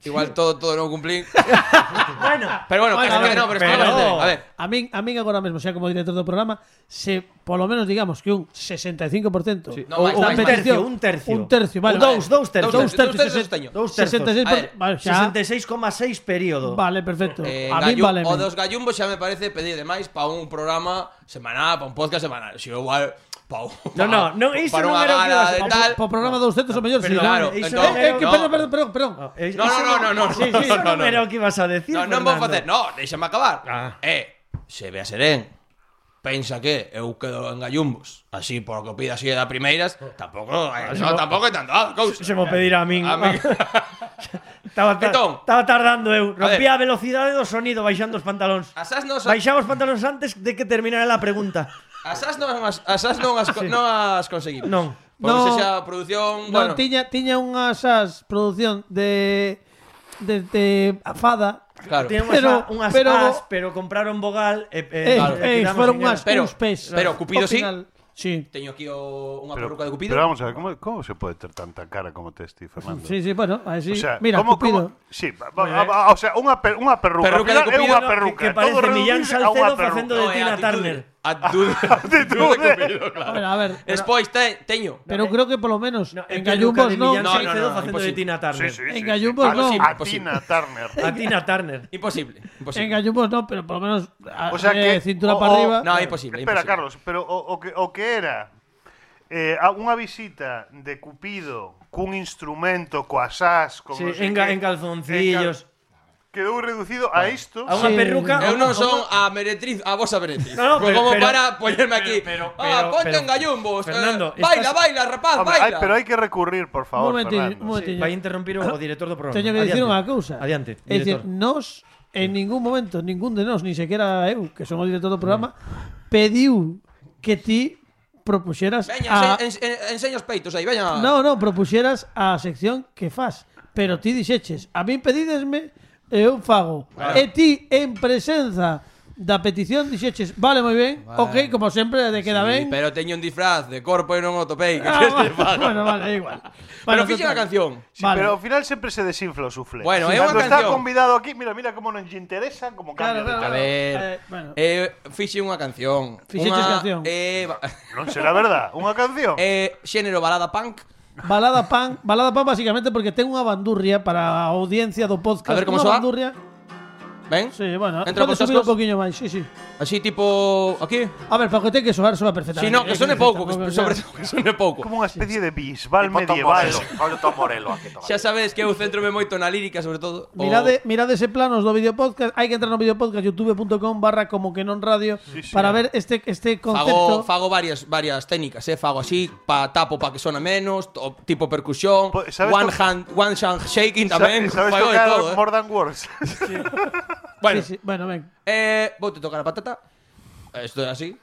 Speaker 7: Igual todo, todo non cumplín.
Speaker 5: bueno,
Speaker 7: Pero bueno,
Speaker 5: Bueno,
Speaker 7: que, que, no, pero, es que
Speaker 5: pero-
Speaker 7: obviamente, a ver,
Speaker 2: A min, a min agora mesmo, xa como director do programa, se polo menos digamos que un 65%
Speaker 5: Sí.
Speaker 7: No, máis,
Speaker 2: ou
Speaker 7: máis, máis.
Speaker 2: unha petición-
Speaker 5: Un tercio, un tercio.
Speaker 2: Un tercio, vale.
Speaker 5: Ou dous, dous tercios.
Speaker 7: Dous
Speaker 2: Dous tercios,
Speaker 7: tercios,
Speaker 2: sesen-
Speaker 7: teño.
Speaker 5: Dous tercios.
Speaker 2: 66
Speaker 7: A ver,
Speaker 2: por- vale, xa.
Speaker 5: 66,6 período.
Speaker 2: Vale, perfecto.
Speaker 7: Eh,
Speaker 2: a min
Speaker 7: gallu-
Speaker 2: vale.
Speaker 7: o dos gallumbos xa me parece pedir demais para un programa semanal, para un podcast semanal. Si eu igual para un,
Speaker 5: No, no, non, iso
Speaker 7: para
Speaker 5: non
Speaker 7: unha
Speaker 5: era o que
Speaker 7: gala
Speaker 5: vas-
Speaker 7: de
Speaker 5: pa-
Speaker 7: tal.
Speaker 2: Por programa 200 o mellor, sí.
Speaker 5: perdón,
Speaker 7: claro,
Speaker 5: iso
Speaker 7: entón-
Speaker 5: non era
Speaker 2: Eh,
Speaker 5: o
Speaker 2: que
Speaker 5: que-
Speaker 2: perdón, perdón, perdón, perdón.
Speaker 5: Ah, eh,
Speaker 7: No,
Speaker 5: iso
Speaker 7: no, no, no, no,
Speaker 5: Sí,
Speaker 7: no,
Speaker 5: sí, iso
Speaker 7: no,
Speaker 5: non
Speaker 7: no.
Speaker 5: era o que ibas a decir.
Speaker 7: No, non vou
Speaker 5: Fernando.
Speaker 7: facer, no, déixame acabar.
Speaker 5: Ah.
Speaker 7: Eh, se ve a serén. Pensa que eu quedo en gallumbos, así por que pida así da primeiras, tampouco, eh, no, tampouco é tanto, ah, cousa.
Speaker 5: Se mo pedirá a min.
Speaker 7: A min.
Speaker 5: Estaba, tar-
Speaker 7: Entón.
Speaker 5: estaba tardando
Speaker 7: A
Speaker 5: eu. Rompía a, velocidade do sonido baixando os pantalóns.
Speaker 7: Asás non son,
Speaker 5: Baixaba os pantalóns antes de que terminara a pregunta.
Speaker 7: asás non as, asás non as, co- non as conseguimos.
Speaker 5: Non.
Speaker 7: Por
Speaker 2: No.
Speaker 7: se xa produción,
Speaker 2: No,
Speaker 7: bueno.
Speaker 2: tiña, tiña unha sas produción de, de, de afada.
Speaker 7: Claro.
Speaker 5: Tiene
Speaker 2: Pero-
Speaker 5: unhas, unhas
Speaker 2: pero-
Speaker 5: as, pero compraron vogal e,
Speaker 2: Eh,
Speaker 5: e,
Speaker 7: Claro.
Speaker 5: e
Speaker 2: eh,
Speaker 5: quedamos
Speaker 2: fueron
Speaker 5: en
Speaker 2: unhas
Speaker 7: Pero-
Speaker 2: uns pes.
Speaker 7: pero Cupido
Speaker 2: Ao
Speaker 7: sí.
Speaker 2: final, Sí.
Speaker 7: Teño aquí o, unha
Speaker 4: Pero,
Speaker 7: peruca de Cupido.
Speaker 4: pero vamos a ver, ¿cómo, cómo se puede tener tanta cara como te estoy, Fernando?
Speaker 2: Sí, sí, bueno, así.
Speaker 4: O sea,
Speaker 2: Mira,
Speaker 4: ¿cómo- cómo-
Speaker 2: Cupido.
Speaker 4: sí, va- va- va- o sea, una, per- una perruca.
Speaker 7: Perruca
Speaker 4: al final
Speaker 7: de
Speaker 4: es
Speaker 7: Cupido,
Speaker 4: una
Speaker 7: no,
Speaker 5: que-
Speaker 4: perruca.
Speaker 5: que parece
Speaker 4: Todo reducido
Speaker 5: Millán
Speaker 4: a
Speaker 5: Salcedo
Speaker 4: una perruca.
Speaker 5: facendo de Tina Turner.
Speaker 7: Actitude, actitude de Cupido, claro.
Speaker 2: Bueno, a ver,
Speaker 7: Despois te, teño.
Speaker 2: Pero creo que por lo menos
Speaker 5: No,
Speaker 2: en
Speaker 5: en Gallumbos
Speaker 2: Gallumbos
Speaker 5: no.
Speaker 2: no.
Speaker 5: No,
Speaker 7: No,
Speaker 5: no,
Speaker 7: no,
Speaker 5: no,
Speaker 7: no,
Speaker 5: facendo de
Speaker 7: imposible.
Speaker 5: Tina
Speaker 4: Sí,
Speaker 5: Turner.
Speaker 4: sí, sí,
Speaker 2: En
Speaker 4: sí.
Speaker 2: Gallumbos
Speaker 4: A-
Speaker 2: no.
Speaker 4: A
Speaker 7: Imposible.
Speaker 4: Tina Turner.
Speaker 5: A Tina Turner.
Speaker 7: Imposible,
Speaker 2: En
Speaker 7: imposible.
Speaker 2: Gallumbos no, pero por lo menos a-
Speaker 4: O sea
Speaker 2: de
Speaker 4: que-
Speaker 2: Ah, eh, cintura
Speaker 4: o-
Speaker 2: para
Speaker 4: o-
Speaker 2: arriba.
Speaker 7: No, imposible,
Speaker 4: Espera,
Speaker 7: imposible.
Speaker 4: Carlos, pero o, o que, o que era eh, a- unha visita de Cupido cun instrumento coas as, con
Speaker 5: Sí,
Speaker 4: non sei
Speaker 5: en, ga-
Speaker 4: que,
Speaker 5: en calzoncillos.
Speaker 4: quedou reducido a isto.
Speaker 5: A
Speaker 2: Sí.
Speaker 5: unha perruca.
Speaker 7: Eu
Speaker 5: a-
Speaker 7: non
Speaker 5: a-
Speaker 7: son a meretriz, a vosa meretriz.
Speaker 5: No, no, pero-
Speaker 7: como
Speaker 5: pero-
Speaker 7: para poñerme
Speaker 5: pero-
Speaker 7: aquí.
Speaker 5: pero-
Speaker 7: ah,
Speaker 5: pero-
Speaker 7: ponte
Speaker 5: pero-
Speaker 7: en gallumbos. eh,
Speaker 5: Fernando,
Speaker 7: baila,
Speaker 5: estás-
Speaker 7: baila, rapaz,
Speaker 4: Hombre,
Speaker 7: baila.
Speaker 4: hai- pero hai que recurrir, por
Speaker 2: un
Speaker 4: favor,
Speaker 2: momentillo, un
Speaker 4: Fernando.
Speaker 2: momentillo.
Speaker 5: Vai interrumpir o,
Speaker 7: Ah,
Speaker 5: o director do programa.
Speaker 2: Teño que dicir
Speaker 5: Adiante.
Speaker 2: unha cousa.
Speaker 5: Adiante,
Speaker 2: É dicir,
Speaker 5: director.
Speaker 2: nos en ningún momento, ningún de nós, ni sequera eu, que son o director do programa, pediu que ti propuxeras
Speaker 7: Veña,
Speaker 5: Ah.
Speaker 2: a...
Speaker 7: ense- ense- en- enseña os peitos aí, veña.
Speaker 2: No, no, propuxeras a sección que fas, pero ti dixeches, a min pedídesme e eu fago. E ti en presenza da petición dixeches, vale, moi ben, ok, como sempre, de queda
Speaker 7: Sí,
Speaker 2: ben.
Speaker 7: Pero teño un disfraz de corpo e non o topei. que
Speaker 2: Ah,
Speaker 7: queres que
Speaker 2: bueno,
Speaker 7: faga?
Speaker 2: bueno, vale, é igual.
Speaker 7: Pero
Speaker 2: Bueno,
Speaker 7: fixe
Speaker 2: total.
Speaker 7: a canción.
Speaker 4: Sí,
Speaker 2: Vale.
Speaker 4: Pero ao final sempre se desinfla o sufle.
Speaker 7: Bueno, é unha
Speaker 4: Cando está
Speaker 7: canción.
Speaker 4: convidado aquí, mira, mira como non lle interesa, como
Speaker 2: Claro,
Speaker 4: cambia de
Speaker 2: claro,
Speaker 7: A
Speaker 4: tema.
Speaker 7: ver,
Speaker 2: Eh, bueno.
Speaker 7: eh, fixe unha canción.
Speaker 2: Fixeches
Speaker 7: Unha,
Speaker 2: canción.
Speaker 7: Eh, ba-
Speaker 4: Non será verdad, unha canción.
Speaker 7: eh, xénero balada punk.
Speaker 2: Balada pan, balada pan basicamente porque ten unha bandurria para a audiencia do podcast.
Speaker 7: A ver como
Speaker 2: Unha
Speaker 7: soa.
Speaker 2: bandurria.
Speaker 7: Ben?
Speaker 2: Sí, bueno,
Speaker 7: Entra por
Speaker 2: pode subir un
Speaker 7: cascos.
Speaker 2: poquinho máis, sí, sí.
Speaker 7: Así tipo... Aquí?
Speaker 2: A ver, para que ten que soar, soa perfectamente.
Speaker 7: Si
Speaker 2: Eh,
Speaker 7: no, que sone pouco, que,
Speaker 2: Tampoco,
Speaker 7: sobre
Speaker 2: claro.
Speaker 7: todo que sone pouco.
Speaker 4: Como unha especie de bisbal
Speaker 8: Tipo Tom
Speaker 4: medieval.
Speaker 8: Morello. Olha o Tom Morello aquí tocando.
Speaker 7: Xa sabedes que eu centrome moito na lírica, sobre todo. o-
Speaker 2: Mirade, mirade ese planos do videopodcast, hai que entrar no videopodcast youtube.com barra como que non radio
Speaker 4: sí.
Speaker 2: para ver este este
Speaker 7: Fago,
Speaker 2: concepto.
Speaker 7: fago varias varias técnicas, eh, fago así, pa tapo para que sona menos, to- tipo percusión,
Speaker 4: Pues, ¿sabes
Speaker 7: one
Speaker 4: to-
Speaker 7: hand one hand shaking
Speaker 4: Sa-
Speaker 7: tamén,
Speaker 4: Sabes
Speaker 7: fago de
Speaker 4: tocar
Speaker 7: todo. Eh.
Speaker 4: More Than Words.
Speaker 7: Bueno,
Speaker 2: Sí, sí, bueno, ven.
Speaker 7: eh, vou te tocar a patata. Isto é así.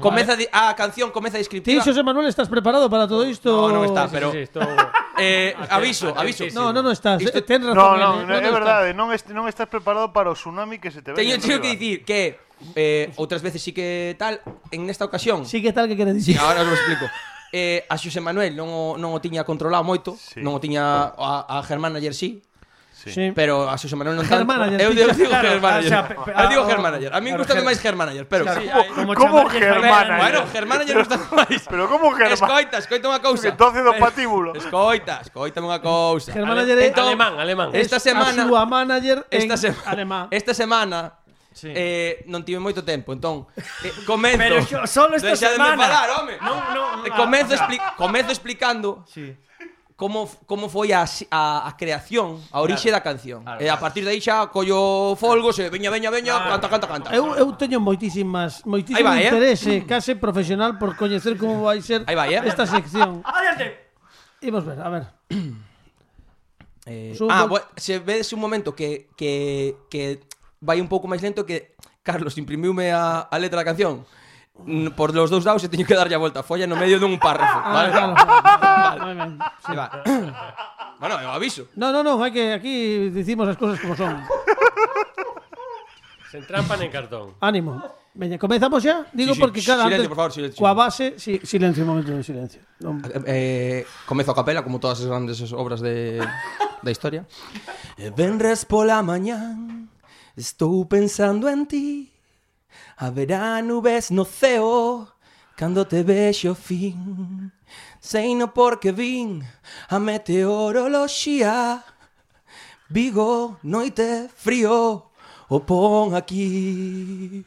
Speaker 7: Comeza di- a canción comeza
Speaker 2: Ti,
Speaker 7: descriptiva.
Speaker 2: Xosé Manuel, estás preparado para todo isto?
Speaker 7: No, non está, pero
Speaker 6: Sí, sí, estou...
Speaker 9: Eh, aviso, aviso.
Speaker 2: No, non o estás. eh, Ten razón.
Speaker 4: No,
Speaker 2: eh,
Speaker 4: non,
Speaker 2: non
Speaker 4: é
Speaker 2: o
Speaker 4: verdade, non, est non estás preparado para o tsunami que se te venga
Speaker 9: Teño teño que
Speaker 4: arriba.
Speaker 9: dicir que eh, outras veces sí que tal, en esta ocasión,
Speaker 2: estás. Sí, que tal que queres
Speaker 9: sí.
Speaker 2: dicir?
Speaker 9: ahora os lo explico. Eh, a Xuse Manuel non o, non o tiña controlado moito, sí. non o tiña a, a Germán ayer sí,
Speaker 2: Sí.
Speaker 9: pero a Xuse Manuel non
Speaker 2: Germán
Speaker 9: tanto.
Speaker 2: Ayer,
Speaker 9: eu
Speaker 2: sí,
Speaker 9: digo, digo
Speaker 7: claro,
Speaker 9: Germán
Speaker 7: o
Speaker 9: ayer.
Speaker 7: sea, pe- pe-
Speaker 9: eu digo
Speaker 7: ah,
Speaker 9: Germán ayer. A mí me
Speaker 7: claro,
Speaker 9: gusta
Speaker 7: Ger-
Speaker 9: máis Germán ayer, pero
Speaker 7: Claro,
Speaker 9: sí,
Speaker 7: como-
Speaker 9: hai-
Speaker 7: como
Speaker 4: Como
Speaker 7: chamar-
Speaker 4: Germán ayer?
Speaker 9: Bueno, Germán ayer gusta máis.
Speaker 4: Pero como Germán?
Speaker 9: Escoita, escoita unha cousa.
Speaker 4: Entonces do patíbulo.
Speaker 9: Escoita, escoitame unha cousa.
Speaker 2: Germán
Speaker 9: Ale-
Speaker 2: Ayer é-
Speaker 9: entón,
Speaker 6: alemán, alemán.
Speaker 9: Esta
Speaker 2: Es
Speaker 9: semana-
Speaker 2: A súa manager en
Speaker 9: Esta semana,
Speaker 2: alemán.
Speaker 9: esta semana
Speaker 7: Sí.
Speaker 9: eh, non tive moito tempo, entón eh, comenzo.
Speaker 7: Pero xo- solo esta
Speaker 9: Deixadme
Speaker 7: semana.
Speaker 9: falar, home.
Speaker 7: Non, non,
Speaker 9: Eh,
Speaker 7: ah,
Speaker 9: comenzo,
Speaker 7: ah.
Speaker 9: expli comenzo explicando
Speaker 7: Sí.
Speaker 9: como f- como foi a, si- a, a creación, a orixe da canción.
Speaker 7: Claro,
Speaker 9: e a partir de aí xa collo folgos e veña, veña, veña, canta, canta, canta.
Speaker 2: Eu, eu teño moitísimas, moitísimo
Speaker 9: Aí vai, eh?
Speaker 2: interese, case profesional por coñecer como vai ser
Speaker 9: Aí vai, eh?
Speaker 2: esta sección.
Speaker 7: Adiante.
Speaker 2: Imos ver, a ver.
Speaker 9: Eh,
Speaker 2: Sou
Speaker 9: ah,
Speaker 2: do-
Speaker 9: bo, se ves un momento que, que, que vai un pouco máis lento que Carlos imprimiume a, a letra da canción mm, por los dous dados e teño que darlle a volta a folla no medio dun párrafo,
Speaker 2: Ah,
Speaker 9: vale?
Speaker 2: claro, claro. Moi ben.
Speaker 9: Aí va. bueno, eu aviso.
Speaker 2: No, no, no, hai que aquí dicimos as cousas como son.
Speaker 6: Se entrampan en cartón.
Speaker 2: Ánimo. Veña, comezamos xa?
Speaker 9: Sí,
Speaker 2: Digo
Speaker 9: sí,
Speaker 2: porque claro,
Speaker 9: silencio,
Speaker 2: antes,
Speaker 9: por favor, silencio.
Speaker 2: coa base, si, silencio, un momento de silencio. Non,
Speaker 9: Eh, comezo a capela como todas as grandes obras de da historia. E Venres Eh, pola mañán estou pensando en ti. Haberá nubes no ceo cando te vexo fin. Seino porque vin a meteoroloxía. Vigo, noite, frío, o pon aquí.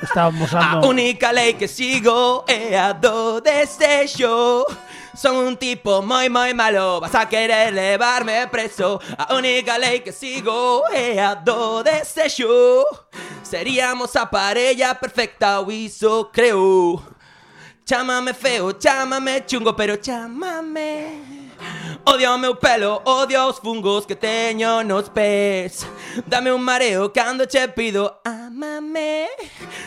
Speaker 2: estábamos
Speaker 9: A
Speaker 2: ando...
Speaker 9: única lei que sigo é a do desexo Son un tipo moi moi malo Vas a querer levarme preso A única lei que sigo é a do desexo Seríamos a parella perfecta, o iso creo Chámame feo, chámame chungo, pero chámame Odio o meu pelo, odio os fungos que teño nos pés Dame un mareo cando che pido amame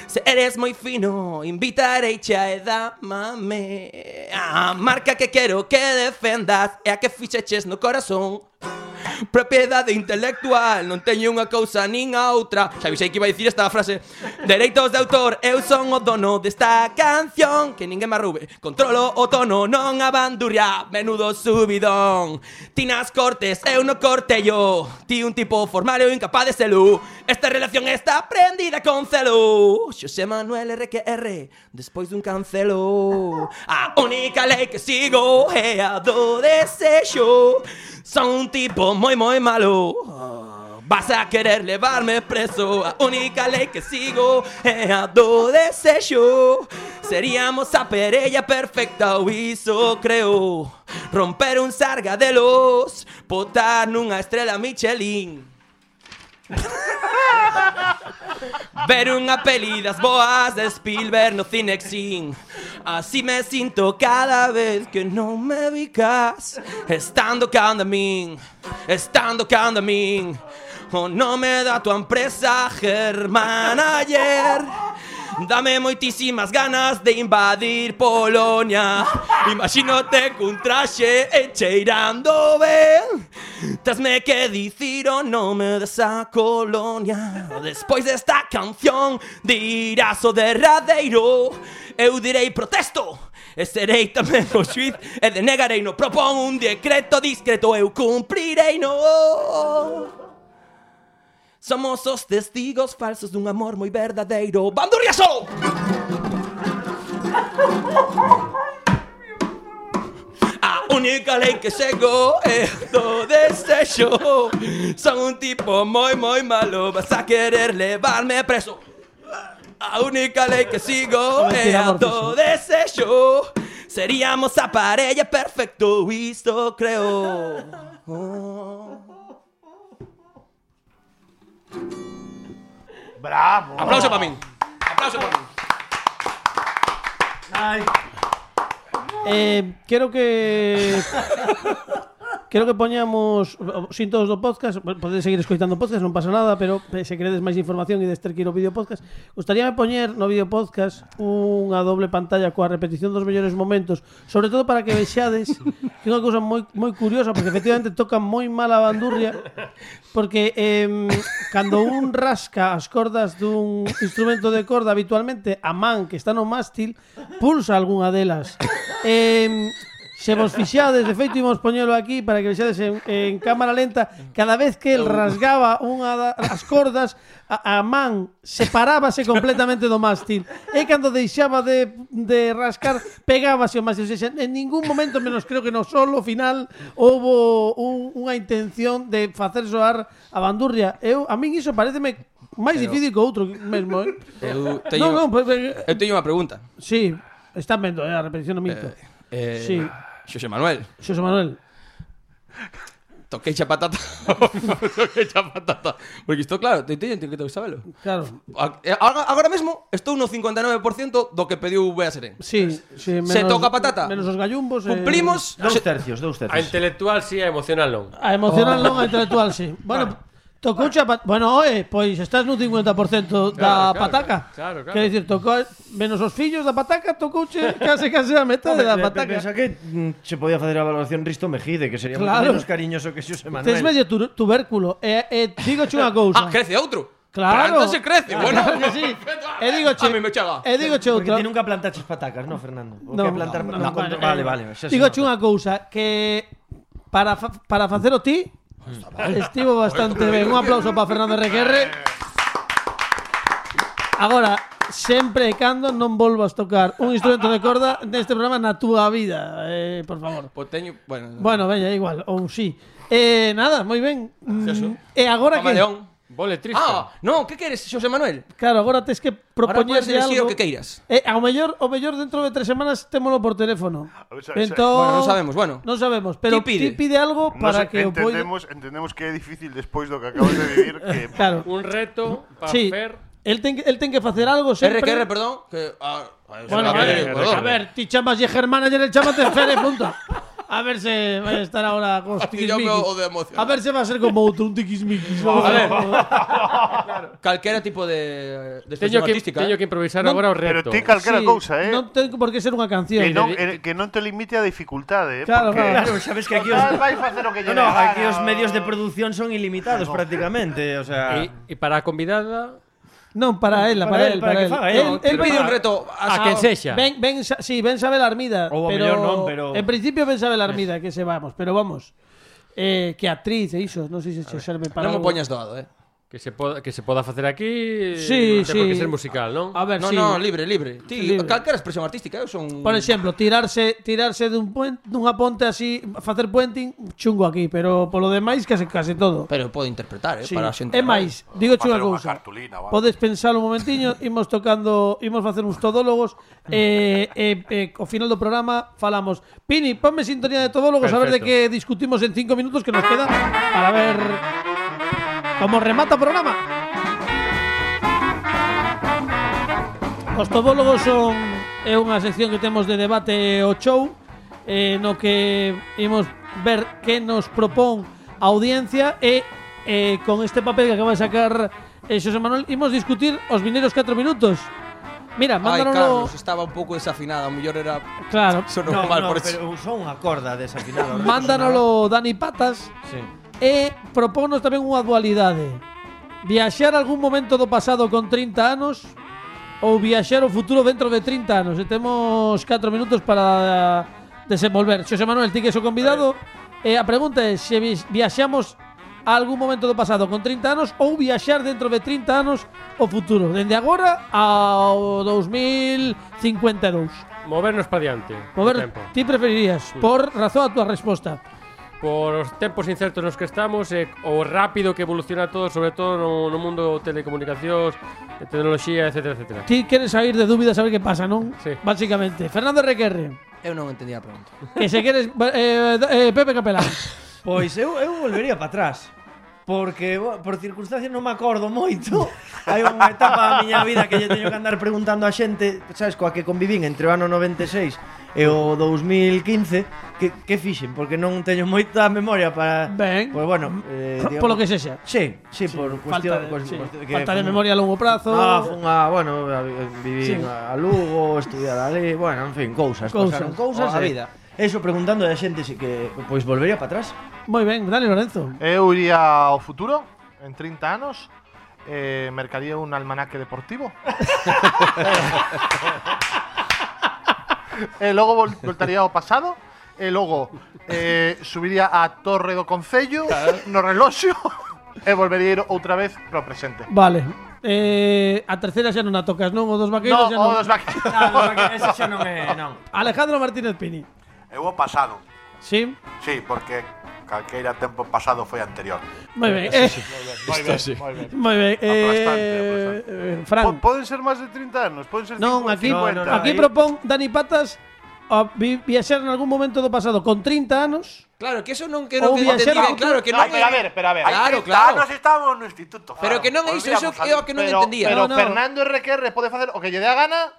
Speaker 9: Se eres moi fino, invitarei xa e damame A marca que quero que defendas é a que fixeches no corazón Propiedade intelectual Non teño unha cousa nin a outra Xa avisei que iba a dicir esta frase Dereitos de autor, eu son o dono desta canción Que ninguén me arrube Controlo o tono, non a bandurria Menudo subidón Ti nas cortes, eu no cortello Ti un tipo formal, eu incapaz de selu Esta relación está prendida con celo Xosé Manuel RQR Despois dun cancelo A única lei que sigo É a do desexo Son un tipo moi moi malo Ah, Vas a querer levarme preso A única lei que sigo É a do desexo Seríamos a perella perfecta O iso creo Romper un sargadelos Botar nunha estrela Michelin Ver unha peli das boas de Spielberg no Cinexin Así me sinto cada vez que non me vicas Estando cando a min, estando cando a min O nome da tua empresa, Germán Ayer Dame moitísimas ganas de invadir Polonia Imagínate cun traxe e cheirando ben Trasme que dicir o nome desa colonia Despois desta canción dirás o derradeiro Eu direi protesto E serei tamén o xuiz E denegarei no propón un decreto discreto Eu cumprirei no Somos os testigos falsos dun amor moi verdadeiro. ¡Bandurria solo! A única lei que chegou é a do desexo Son un tipo moi moi malo Vas a querer levarme preso A única lei que sigo é a do desexo Seríamos a parella perfecto, isto creo
Speaker 5: Bravo.
Speaker 9: Aplauso para min Aplauso para min
Speaker 2: Eh, quero que Creo que poñamos o- o- sin todos do podcast, bo- podedes seguir escoitando podcast, non pasa nada, pero eh, se queredes máis información e deste quiro vídeo podcast, gustaríame poñer no vídeo podcast unha doble pantalla coa repetición dos mellores momentos, sobre todo para que vexades que é unha cousa moi moi curiosa porque efectivamente toca moi mal a bandurria porque em, cando un rasca as cordas dun instrumento de corda habitualmente a man que está no mástil pulsa algunha delas. Em, Se vos fixades, de feito, imos poñelo aquí para que vexades en, en cámara lenta. Cada vez que el rasgaba unha da- as cordas, a, a man separábase completamente do mástil. E cando deixaba de, de rascar, pegábase o mástil. Ou seja, en ningún momento, menos creo que no solo final, houbo un, unha intención de facer soar a bandurria. Eu, a min iso pareceme máis difícil que outro mesmo, eh?
Speaker 7: Eu teño,
Speaker 2: Non, non, pe- pe-
Speaker 7: eu teño unha pregunta.
Speaker 2: sí, están vendo, eh, a repetición do mito.
Speaker 7: Eh,
Speaker 2: Sí.
Speaker 7: Xosé Manuel,
Speaker 2: Xosé Manuel,
Speaker 7: toquei a patata. toquei a patata. Porque isto, claro, te teño que sabelo.
Speaker 2: claro.
Speaker 7: A- eh, Agora, agora mesmo estou no 59% do que pediu Bea Serén.
Speaker 2: Sí, sí, menos,
Speaker 7: Se toca patata.
Speaker 2: Menos os gallumbos. eh.
Speaker 7: Cumplimos.
Speaker 5: Dous
Speaker 7: Se-
Speaker 5: tercios, dous
Speaker 6: A
Speaker 5: tercios. Oh.
Speaker 6: intelectual sí, a emocional non.
Speaker 2: A emocional non, a intelectual sí. Bueno, tocou xa pat- Bueno, oe, pois estás nun 50% da
Speaker 6: Claro, claro,
Speaker 2: pataca.
Speaker 6: claro, claro.
Speaker 2: Quero dicir, tocou menos os fillos da pataca, tocouche case case a metade da
Speaker 5: Pensa
Speaker 2: pataca.
Speaker 5: que mm, se podía facer a valoración Risto Mejide, que sería
Speaker 2: Claro.
Speaker 5: claro. menos cariñoso que Xosé Manuel.
Speaker 2: Tes medio tu- tubérculo. E, e digo unha cousa.
Speaker 7: Ah, crece outro.
Speaker 2: Claro. Ah,
Speaker 7: Pero entón se crece. Bueno,
Speaker 2: Claro que sí. E digo che,
Speaker 7: A mí me chega.
Speaker 2: E digo che
Speaker 5: Porque
Speaker 2: outra.
Speaker 5: ti nunca plantaches patacas, non, Fernando? O
Speaker 2: No,
Speaker 5: que plantar
Speaker 2: no,
Speaker 5: no,
Speaker 2: no,
Speaker 5: contra-
Speaker 2: eh,
Speaker 5: vale, vale. xa se
Speaker 2: Digo
Speaker 5: nota.
Speaker 2: che unha cousa que para fa- para facelo ti estivo bastante ben. Un aplauso para Fernando Requerre. Agora, sempre e cando non volvas tocar un instrumento de corda neste programa na túa vida, eh, por favor.
Speaker 7: Pois Pues teño, bueno.
Speaker 2: Bueno, veña, igual, ou si. Eh, nada, moi ben.
Speaker 7: Eso.
Speaker 2: Mm, e agora que
Speaker 7: Camaleón.
Speaker 6: Vole triste.
Speaker 7: Ah, non, que queres, Xosé Manuel?
Speaker 2: Claro, agora tes que
Speaker 7: Ahora podes
Speaker 2: propoñerlle
Speaker 7: decir o
Speaker 2: algo
Speaker 7: que queiras.
Speaker 2: Eh, ao mellor, ao mellor dentro de tres semanas témolo por teléfono.
Speaker 4: A ver, xa- xa-
Speaker 2: Entón,
Speaker 7: Bueno, non sabemos, bueno.
Speaker 2: Non sabemos, pero
Speaker 7: Ti pide.
Speaker 2: ti pide algo
Speaker 4: Nos
Speaker 2: para que o poida...
Speaker 4: entendemos, entendemos que é difícil despois do que acabas de vivir que
Speaker 2: Claro.
Speaker 6: Un reto para
Speaker 2: Sí.
Speaker 6: Fer.
Speaker 2: El ten, que- el ten que facer algo sempre.
Speaker 7: RQR, perdón, que ah,
Speaker 2: Bueno, a ver, a ver, ti chamas y Germán ayer el chama te Fer e punto. A ver se vai a estar ahora con os
Speaker 7: Aquí yo veo o
Speaker 2: tiquismiquis.
Speaker 7: de emoción.
Speaker 2: A ver se va a ser como outro, un tiquismiquis. A ver,
Speaker 7: Calquera tipo de, de expresión
Speaker 6: Teño que,
Speaker 7: artística. eh.
Speaker 6: teño que improvisar
Speaker 2: Non-
Speaker 6: agora o
Speaker 4: pero
Speaker 6: reto.
Speaker 4: ti calquera cousa, eh?
Speaker 2: Non ten por que ser unha canción.
Speaker 4: que non eh, que non te limite a dificultade, eh?
Speaker 2: Claro,
Speaker 4: porque
Speaker 2: claro.
Speaker 5: Claro, sabes que aquí os...
Speaker 4: Total, vai facer o que lle
Speaker 5: No, no,
Speaker 4: dé a
Speaker 5: aquí
Speaker 4: gana,
Speaker 5: os medios de producción son ilimitados prácticamente, o sea...
Speaker 6: E, e para a convidada,
Speaker 2: Non, para ela, para,
Speaker 5: Para
Speaker 2: él,
Speaker 5: él,
Speaker 2: para,
Speaker 5: para que
Speaker 2: él.
Speaker 5: faga
Speaker 2: Él,
Speaker 5: ela.
Speaker 2: él,
Speaker 5: Pero
Speaker 7: Pide
Speaker 2: vai-
Speaker 7: un reto
Speaker 6: a,
Speaker 7: asao.
Speaker 6: quen sexa.
Speaker 2: Ah, Ben, ben, Sa- sí, Ben Sabel Armida.
Speaker 5: Ou
Speaker 2: pero,
Speaker 5: ao mellor non, pero-
Speaker 2: En principio Ben Sabel Armida, que se vamos. Pero vamos, eh, que actriz e iso. Non sei se che serve para...
Speaker 7: Non me
Speaker 2: algo.
Speaker 7: poñas doado, eh.
Speaker 6: Que se poda, que se poda facer aquí, non sei
Speaker 2: Sí, sí.
Speaker 6: por que ser musical, non?
Speaker 2: A ver,
Speaker 7: No,
Speaker 2: sí.
Speaker 7: no, libre, libre. Ti,
Speaker 2: Libre.
Speaker 7: calquera expresión artística, eu son
Speaker 2: Por exemplo, tirarse tirarse dun puen, dunha ponte así, facer puenting, chungo aquí, pero polo demais case case todo.
Speaker 7: pero podo interpretar, eh,
Speaker 2: Sí.
Speaker 7: para a xente.
Speaker 2: É máis, digo
Speaker 8: facer
Speaker 2: chunga
Speaker 8: unha
Speaker 2: cousa.
Speaker 8: cartulina ou algo.
Speaker 2: Podes pensar un momentiño, imos tocando, imos facer uns todólogos e eh, eh, eh, ao final do programa falamos. Pini, ponme sintonía de todólogos a ver de
Speaker 6: Perfecto.
Speaker 2: que discutimos en cinco minutos que nos queda para ver como remata o programa. Os todólogos son é unha sección que temos de debate o show eh, no que imos ver que nos propón a audiencia e eh, con este papel que acaba de sacar eh, Xosé Manuel imos discutir os vineiros 4 minutos.
Speaker 7: Ai,
Speaker 2: Mira, mándanoslo...
Speaker 7: Carlos, estaba un pouco desafinada, o mellor era
Speaker 2: Claro.
Speaker 7: sonou
Speaker 5: No,
Speaker 7: mal
Speaker 5: no,
Speaker 7: por eso.
Speaker 5: pero son unha corda desafinada.
Speaker 2: Mándanoslo Dani Patas
Speaker 5: Sí.
Speaker 2: e propónos tamén unha dualidade. Viaxar algún momento do pasado con 30 anos ou viaxar o futuro dentro de 30 anos. E temos 4 minutos para desenvolver. Xosé Manuel, ti que és o convidado, eh, a pregunta é se vi- viaxamos a algún momento do pasado con 30 anos ou viaxar dentro de 30 anos o futuro, dende agora ao 2052.
Speaker 6: Movernos para diante.
Speaker 2: Mover,
Speaker 6: Tempo.
Speaker 2: e ti preferirías, por razón a túa resposta.
Speaker 6: Por os tempos incertos nos que estamos e o rápido que evoluciona todo, sobre todo no, no mundo telecomunicacións, de tecnoloxía, etcétera, etcétera.
Speaker 2: Ti queres sair de dúbidas a ver que pasa, non?
Speaker 6: Sí.
Speaker 2: Básicamente. Fernando Requerre,
Speaker 7: Eu non entendía a pregunta.
Speaker 2: que se queres... Eh, eh, Pepe Capelán.
Speaker 5: Pois eu, eu volvería para atrás. porque bo, por circunstancias non me acordo moito. Hai unha etapa da miña vida que lle teño que andar preguntando a xente, sabes, coa que convivín entre o ano 96 e o 2015, que, que fixen, porque non teño moita memoria para...
Speaker 2: Ben.
Speaker 5: Pois bueno, eh, digamos,
Speaker 2: Polo que sexa.
Speaker 5: Sí, sí, por
Speaker 2: Falta de,
Speaker 5: cuestión... cues-
Speaker 2: sí.
Speaker 5: cuestión que
Speaker 2: Falta de
Speaker 5: fun-
Speaker 2: memoria a longo prazo.
Speaker 5: Ah, fun a, bueno, a- viví
Speaker 2: Sí.
Speaker 5: a Lugo, estudar ali, bueno, en fin, cousas,
Speaker 2: Cousas.
Speaker 5: pasaron cousas,
Speaker 2: A
Speaker 5: e
Speaker 2: vida.
Speaker 5: Eso preguntando a xente si que pois volvería para atrás.
Speaker 2: Moi ben, dale Lorenzo.
Speaker 3: Eu iría ao futuro, en 30 anos, eh, mercaría un almanaque deportivo. e logo vol voltaría ao pasado, e logo eh, subiría á Torre do Concello, no reloxo, e volvería a ir outra vez pro presente.
Speaker 2: Vale. Eh, a terceira xa non a tocas, non? O dos vaqueiros
Speaker 3: No,
Speaker 2: xa
Speaker 3: o
Speaker 2: non.
Speaker 3: dos vaqueiros.
Speaker 5: ese xa non é, non.
Speaker 2: Alejandro Martínez Pini.
Speaker 3: Eh,
Speaker 8: Eu o pasado.
Speaker 2: Sí?
Speaker 8: Sí, porque calqueira tempo pasado foi anterior.
Speaker 2: Moi ben. Eh, moi ben. Eh, eh, Fran.
Speaker 4: Po- Poden ser máis de 30 anos, poden ser
Speaker 2: Non,
Speaker 4: 50.
Speaker 2: aquí,
Speaker 5: no, no,
Speaker 2: aquí
Speaker 5: ahí-
Speaker 2: propón Dani Patas a vi- viaxar en algún momento do pasado con 30 anos.
Speaker 7: Claro, que eso non que non
Speaker 2: Ou
Speaker 7: que
Speaker 2: viaxar
Speaker 7: entendí ben,
Speaker 2: ao
Speaker 7: claro que
Speaker 3: No,
Speaker 7: non.
Speaker 3: pero
Speaker 7: é-
Speaker 3: a ver, pero a ver.
Speaker 8: Hai
Speaker 7: Claro,
Speaker 8: 30
Speaker 7: claro.
Speaker 8: anos estábamos no instituto.
Speaker 7: Pero que non é iso, iso é o que non
Speaker 3: pero,
Speaker 7: entendía.
Speaker 3: Pero
Speaker 2: No, no.
Speaker 3: Fernando RQR pode facer o que lle dé a gana,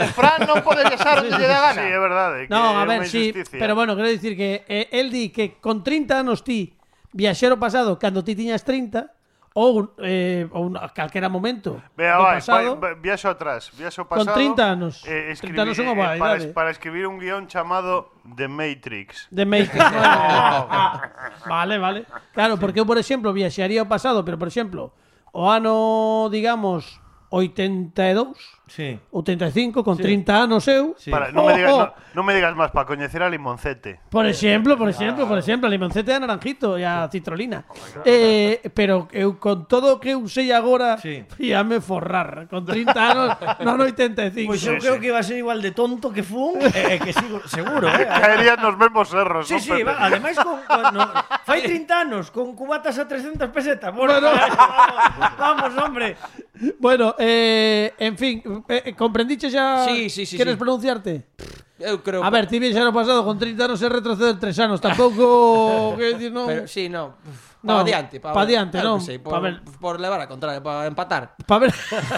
Speaker 3: e Fran non pode deixar o que lle dé a
Speaker 4: Sí,
Speaker 3: gana.
Speaker 4: é verdade. que
Speaker 2: No,
Speaker 4: é
Speaker 2: a
Speaker 4: unha
Speaker 2: ver, sí,
Speaker 4: injusticia.
Speaker 2: pero bueno, quero dicir que eh, el di que con 30 anos ti viaxero pasado cando ti tiñas 30 ou eh, ou a calquera momento
Speaker 4: Vea,
Speaker 2: do
Speaker 4: vai,
Speaker 2: pasado.
Speaker 4: vai, vai, viaxo atrás, viaxo
Speaker 2: Con
Speaker 4: pasado.
Speaker 2: 30 anos.
Speaker 4: Eh,
Speaker 2: 30 anos é unha
Speaker 4: escribí-
Speaker 2: boa
Speaker 4: eh, para,
Speaker 2: idade.
Speaker 4: es- para escribir un guión chamado The Matrix.
Speaker 2: De Matrix. vale, vale, vale. Claro, porque eu, por exemplo, viaxaría ao pasado, pero, por exemplo, o ano, digamos, 82
Speaker 5: Sí.
Speaker 2: ou 35, con 30 anos eu.
Speaker 5: Sí.
Speaker 4: Para, non, me
Speaker 2: Oh,
Speaker 4: digas,
Speaker 2: oh.
Speaker 4: no, non me digas máis, para coñecer a Limoncete.
Speaker 2: Por exemplo, por exemplo, por exemplo, a limoncete a naranjito e a citrolina.
Speaker 7: Oh
Speaker 2: eh, pero eu con todo o que eu sei agora,
Speaker 5: Sí.
Speaker 2: ia me forrar. Con 30 anos, non 85.
Speaker 7: Pues
Speaker 5: Pois eu creo que iba a ser igual de tonto que fun, e e eh, que sigo seguro,
Speaker 2: Ah.
Speaker 5: eh.
Speaker 4: Caerían nos mesmos erros,
Speaker 5: Sí,
Speaker 4: non,
Speaker 5: sí,
Speaker 4: Pepe?
Speaker 5: va, ademais con, con no, fai 30 anos con cubatas a 300 pesetas. Bueno,
Speaker 2: Bueno.
Speaker 5: vamos, vamos, hombre.
Speaker 2: Bueno, eh, en fin, eh, comprendiche xa?
Speaker 7: Sí, sí, sí, sí.
Speaker 2: Queres pronunciarte?
Speaker 7: Eu creo.
Speaker 2: A ver, ti viaxar ao pasado con 30 anos e retroceder 3 anos, tampouco, quero dicir, non.
Speaker 7: Pero sí, no.
Speaker 2: No,
Speaker 7: Para adiante, para
Speaker 2: pa adiante,
Speaker 7: claro
Speaker 2: non,
Speaker 7: que Sí,
Speaker 2: pa
Speaker 7: por,
Speaker 2: ver.
Speaker 7: por levar a contraria, para empatar.
Speaker 2: Pa ver.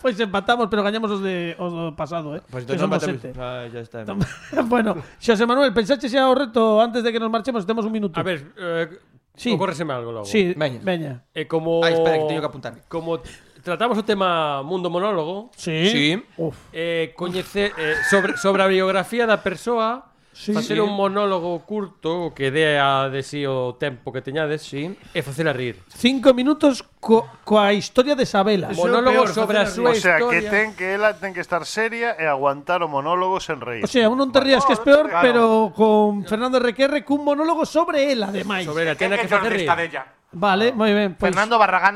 Speaker 2: pois empatamos, pero gañamos os de os do pasado, eh.
Speaker 7: Pues
Speaker 2: que somos sete.
Speaker 5: Ah, ya está.
Speaker 2: bueno, Xosé Manuel, pensache xa o reto antes de que nos marchemos, temos un minuto.
Speaker 6: A ver, eh,
Speaker 2: Sí.
Speaker 6: ocórreseme algo logo.
Speaker 2: Sí, veña.
Speaker 7: veña.
Speaker 2: veña.
Speaker 6: Eh, como...
Speaker 7: Ai, Ah, espera, que teño que apuntar.
Speaker 6: Como tratamos o tema mundo monólogo,
Speaker 2: Sí.
Speaker 7: Sí.
Speaker 2: Uf.
Speaker 6: eh, coñecer eh, sobre, sobre a biografía da persoa,
Speaker 2: Sí.
Speaker 6: facer
Speaker 2: Sí.
Speaker 6: un monólogo curto que dé a de si o tempo que teñades, sí. e facela rir.
Speaker 2: Cinco minutos co, coa historia de Sabela.
Speaker 5: Eso é o
Speaker 6: monólogo
Speaker 5: peor,
Speaker 6: sobre a
Speaker 4: O
Speaker 6: súa
Speaker 5: facela
Speaker 4: sea,
Speaker 6: historia.
Speaker 4: que ten que ela ten que estar seria e aguantar o pues, monólogo sen reír.
Speaker 2: O sea, un non te rías que es
Speaker 8: no,
Speaker 2: peor,
Speaker 8: claro.
Speaker 2: pero con Fernando Requerre cun monólogo sobre él, ademais.
Speaker 6: Sobre a
Speaker 8: Que
Speaker 6: tena
Speaker 8: é E
Speaker 6: que
Speaker 8: que
Speaker 6: facer rir.
Speaker 8: xornalista della.
Speaker 2: Vale, moi ben. Pois,
Speaker 3: Fernando Barragán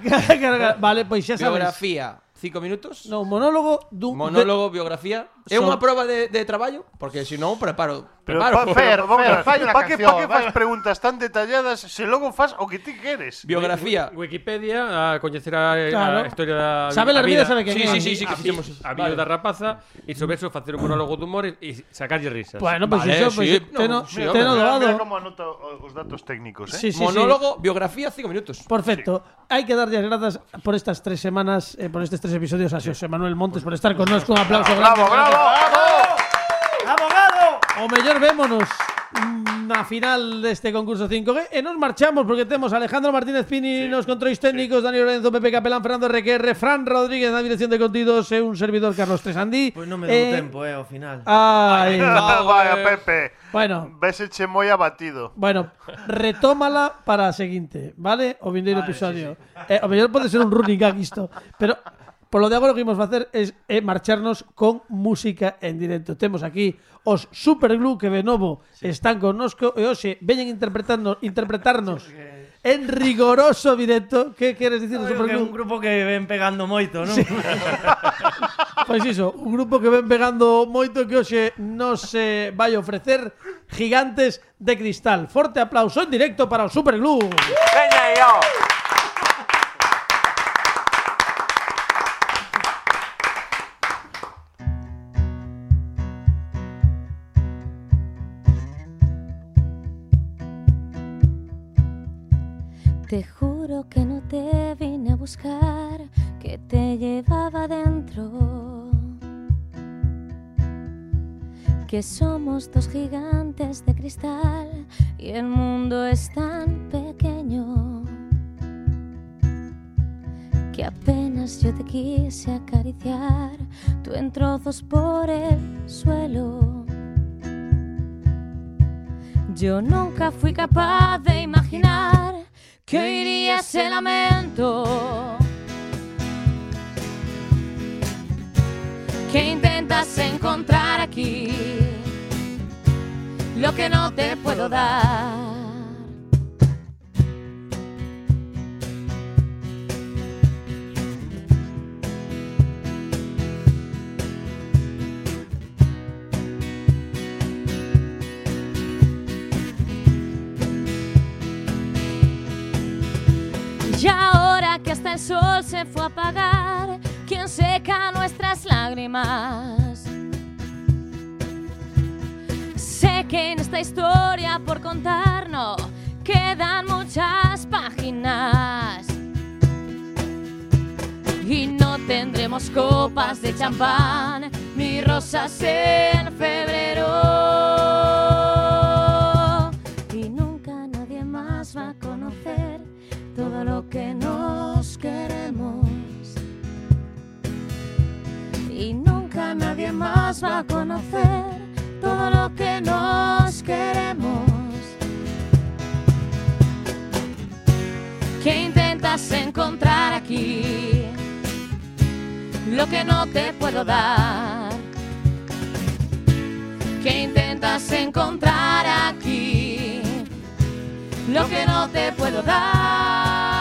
Speaker 2: Claro, claro. vale, pois xa sabes.
Speaker 7: Biografía, cinco minutos.
Speaker 2: No, monólogo dun
Speaker 7: Monólogo, biografía. É
Speaker 2: So-
Speaker 7: unha proba de, de traballo, porque se non, preparo.
Speaker 4: Pero
Speaker 7: preparo.
Speaker 4: pa,
Speaker 3: Fer,
Speaker 4: pero, vamos
Speaker 3: Fer,
Speaker 4: a ver,
Speaker 3: fai una
Speaker 4: pa que,
Speaker 3: canción,
Speaker 4: pa que
Speaker 3: vai.
Speaker 4: fas preguntas tan detalladas se logo fas o que ti queres?
Speaker 7: biografía.
Speaker 6: Wikipedia a coñecer a, a
Speaker 2: Claro.
Speaker 6: historia da
Speaker 2: Sabe la vida, sabe que
Speaker 6: sí,
Speaker 2: é.
Speaker 6: sí, sí, sí, que
Speaker 7: Ah,
Speaker 6: fixemos
Speaker 7: sí.
Speaker 6: a vida da
Speaker 7: Vale.
Speaker 6: rapaza e sobre eso facer un monólogo de humor e, e sacarlle risas.
Speaker 2: Bueno, pois
Speaker 7: Vale,
Speaker 2: iso, pois
Speaker 7: sí,
Speaker 2: te no,
Speaker 7: no, sí,
Speaker 2: te no
Speaker 4: Mira,
Speaker 2: doado.
Speaker 4: mira como anota o- os datos técnicos, eh?
Speaker 2: Sí, sí, sí.
Speaker 7: monólogo, biografía, cinco minutos.
Speaker 2: Perfecto. Hay que darle las gracias por estas tres semanas, eh, por estos tres episodios a José Manuel Montes por estar con nosotros. Un aplauso.
Speaker 4: Bravo, bravo.
Speaker 5: Abogado.
Speaker 2: O mellor vémonos na final deste concurso 5G e nos marchamos porque temos a Alejandro Martínez Pini nos controis técnicos, Dani Lorenzo, Pepe Capelán, Fernando RQR, Fran Rodríguez na dirección de contidos e un servidor Carlos Tresandí.
Speaker 5: Pois non me deu tempo, eh, ao final.
Speaker 2: Ai,
Speaker 4: Vaya, Pepe.
Speaker 2: bueno,
Speaker 4: Veseche moi abatido.
Speaker 2: bueno, retómala para a seguinte, vale? O vindeiro episodio. Eh, o mellor pode ser un running gag isto, pero por lo de agora o que imos facer é eh, marcharnos con música en directo. Temos aquí os Superglue que de novo están connosco e hoxe veñen interpretando interpretarnos en rigoroso directo. Que queres dicir
Speaker 5: Creo que é un
Speaker 2: Superglue?
Speaker 5: grupo que ven pegando moito, non?
Speaker 2: Pois iso, Pues un grupo que ven pegando moito que hoxe nos eh, vai ofrecer Gigantes de Cristal. Forte aplauso en directo para o Superglue.
Speaker 8: Veña aí, ó.
Speaker 11: te vine a buscar, que te llevaba dentro. Que somos dos gigantes de cristal y el mundo es tan pequeño. Que apenas yo te quise acariciar, tú en trozos por el suelo. Yo nunca fui capaz de imaginar que oiría ese lamento. Que intentas encontrar aquí lo que no te puedo dar. Y ahora que hasta el sol se fue a apagar, quien seca nuestras lágrimas. Sé que en esta historia por contarnos quedan muchas páginas. Y no tendremos copas de champán ni rosas en febrero. Y nunca nadie más va a conocer todo lo que nos queremos. Y nunca nadie más va a conocer todo lo que nos queremos. Que intentas encontrar aquí lo que no te puedo dar. Que intentas encontrar aquí lo que no te puedo dar.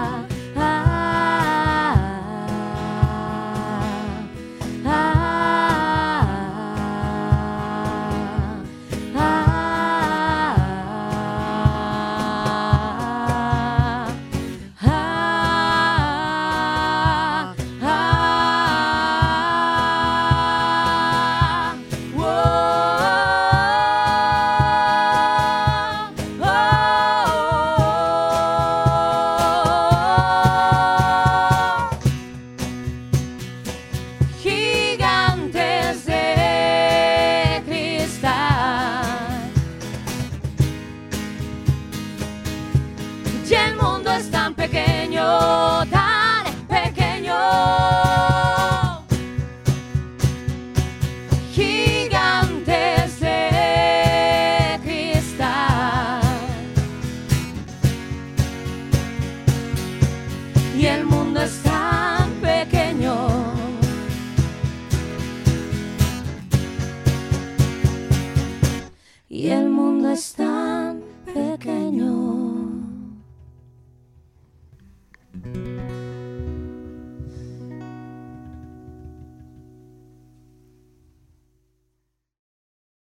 Speaker 11: Ah, ah, ah, ah, ah, ah, ah, ah, oh, oh, gigantes de cristal. Y el mundo es tan pequeño, tan pequeño. Gigantes de cristal. y el mundo es tan pequeño. Y el mundo es tan pequeño.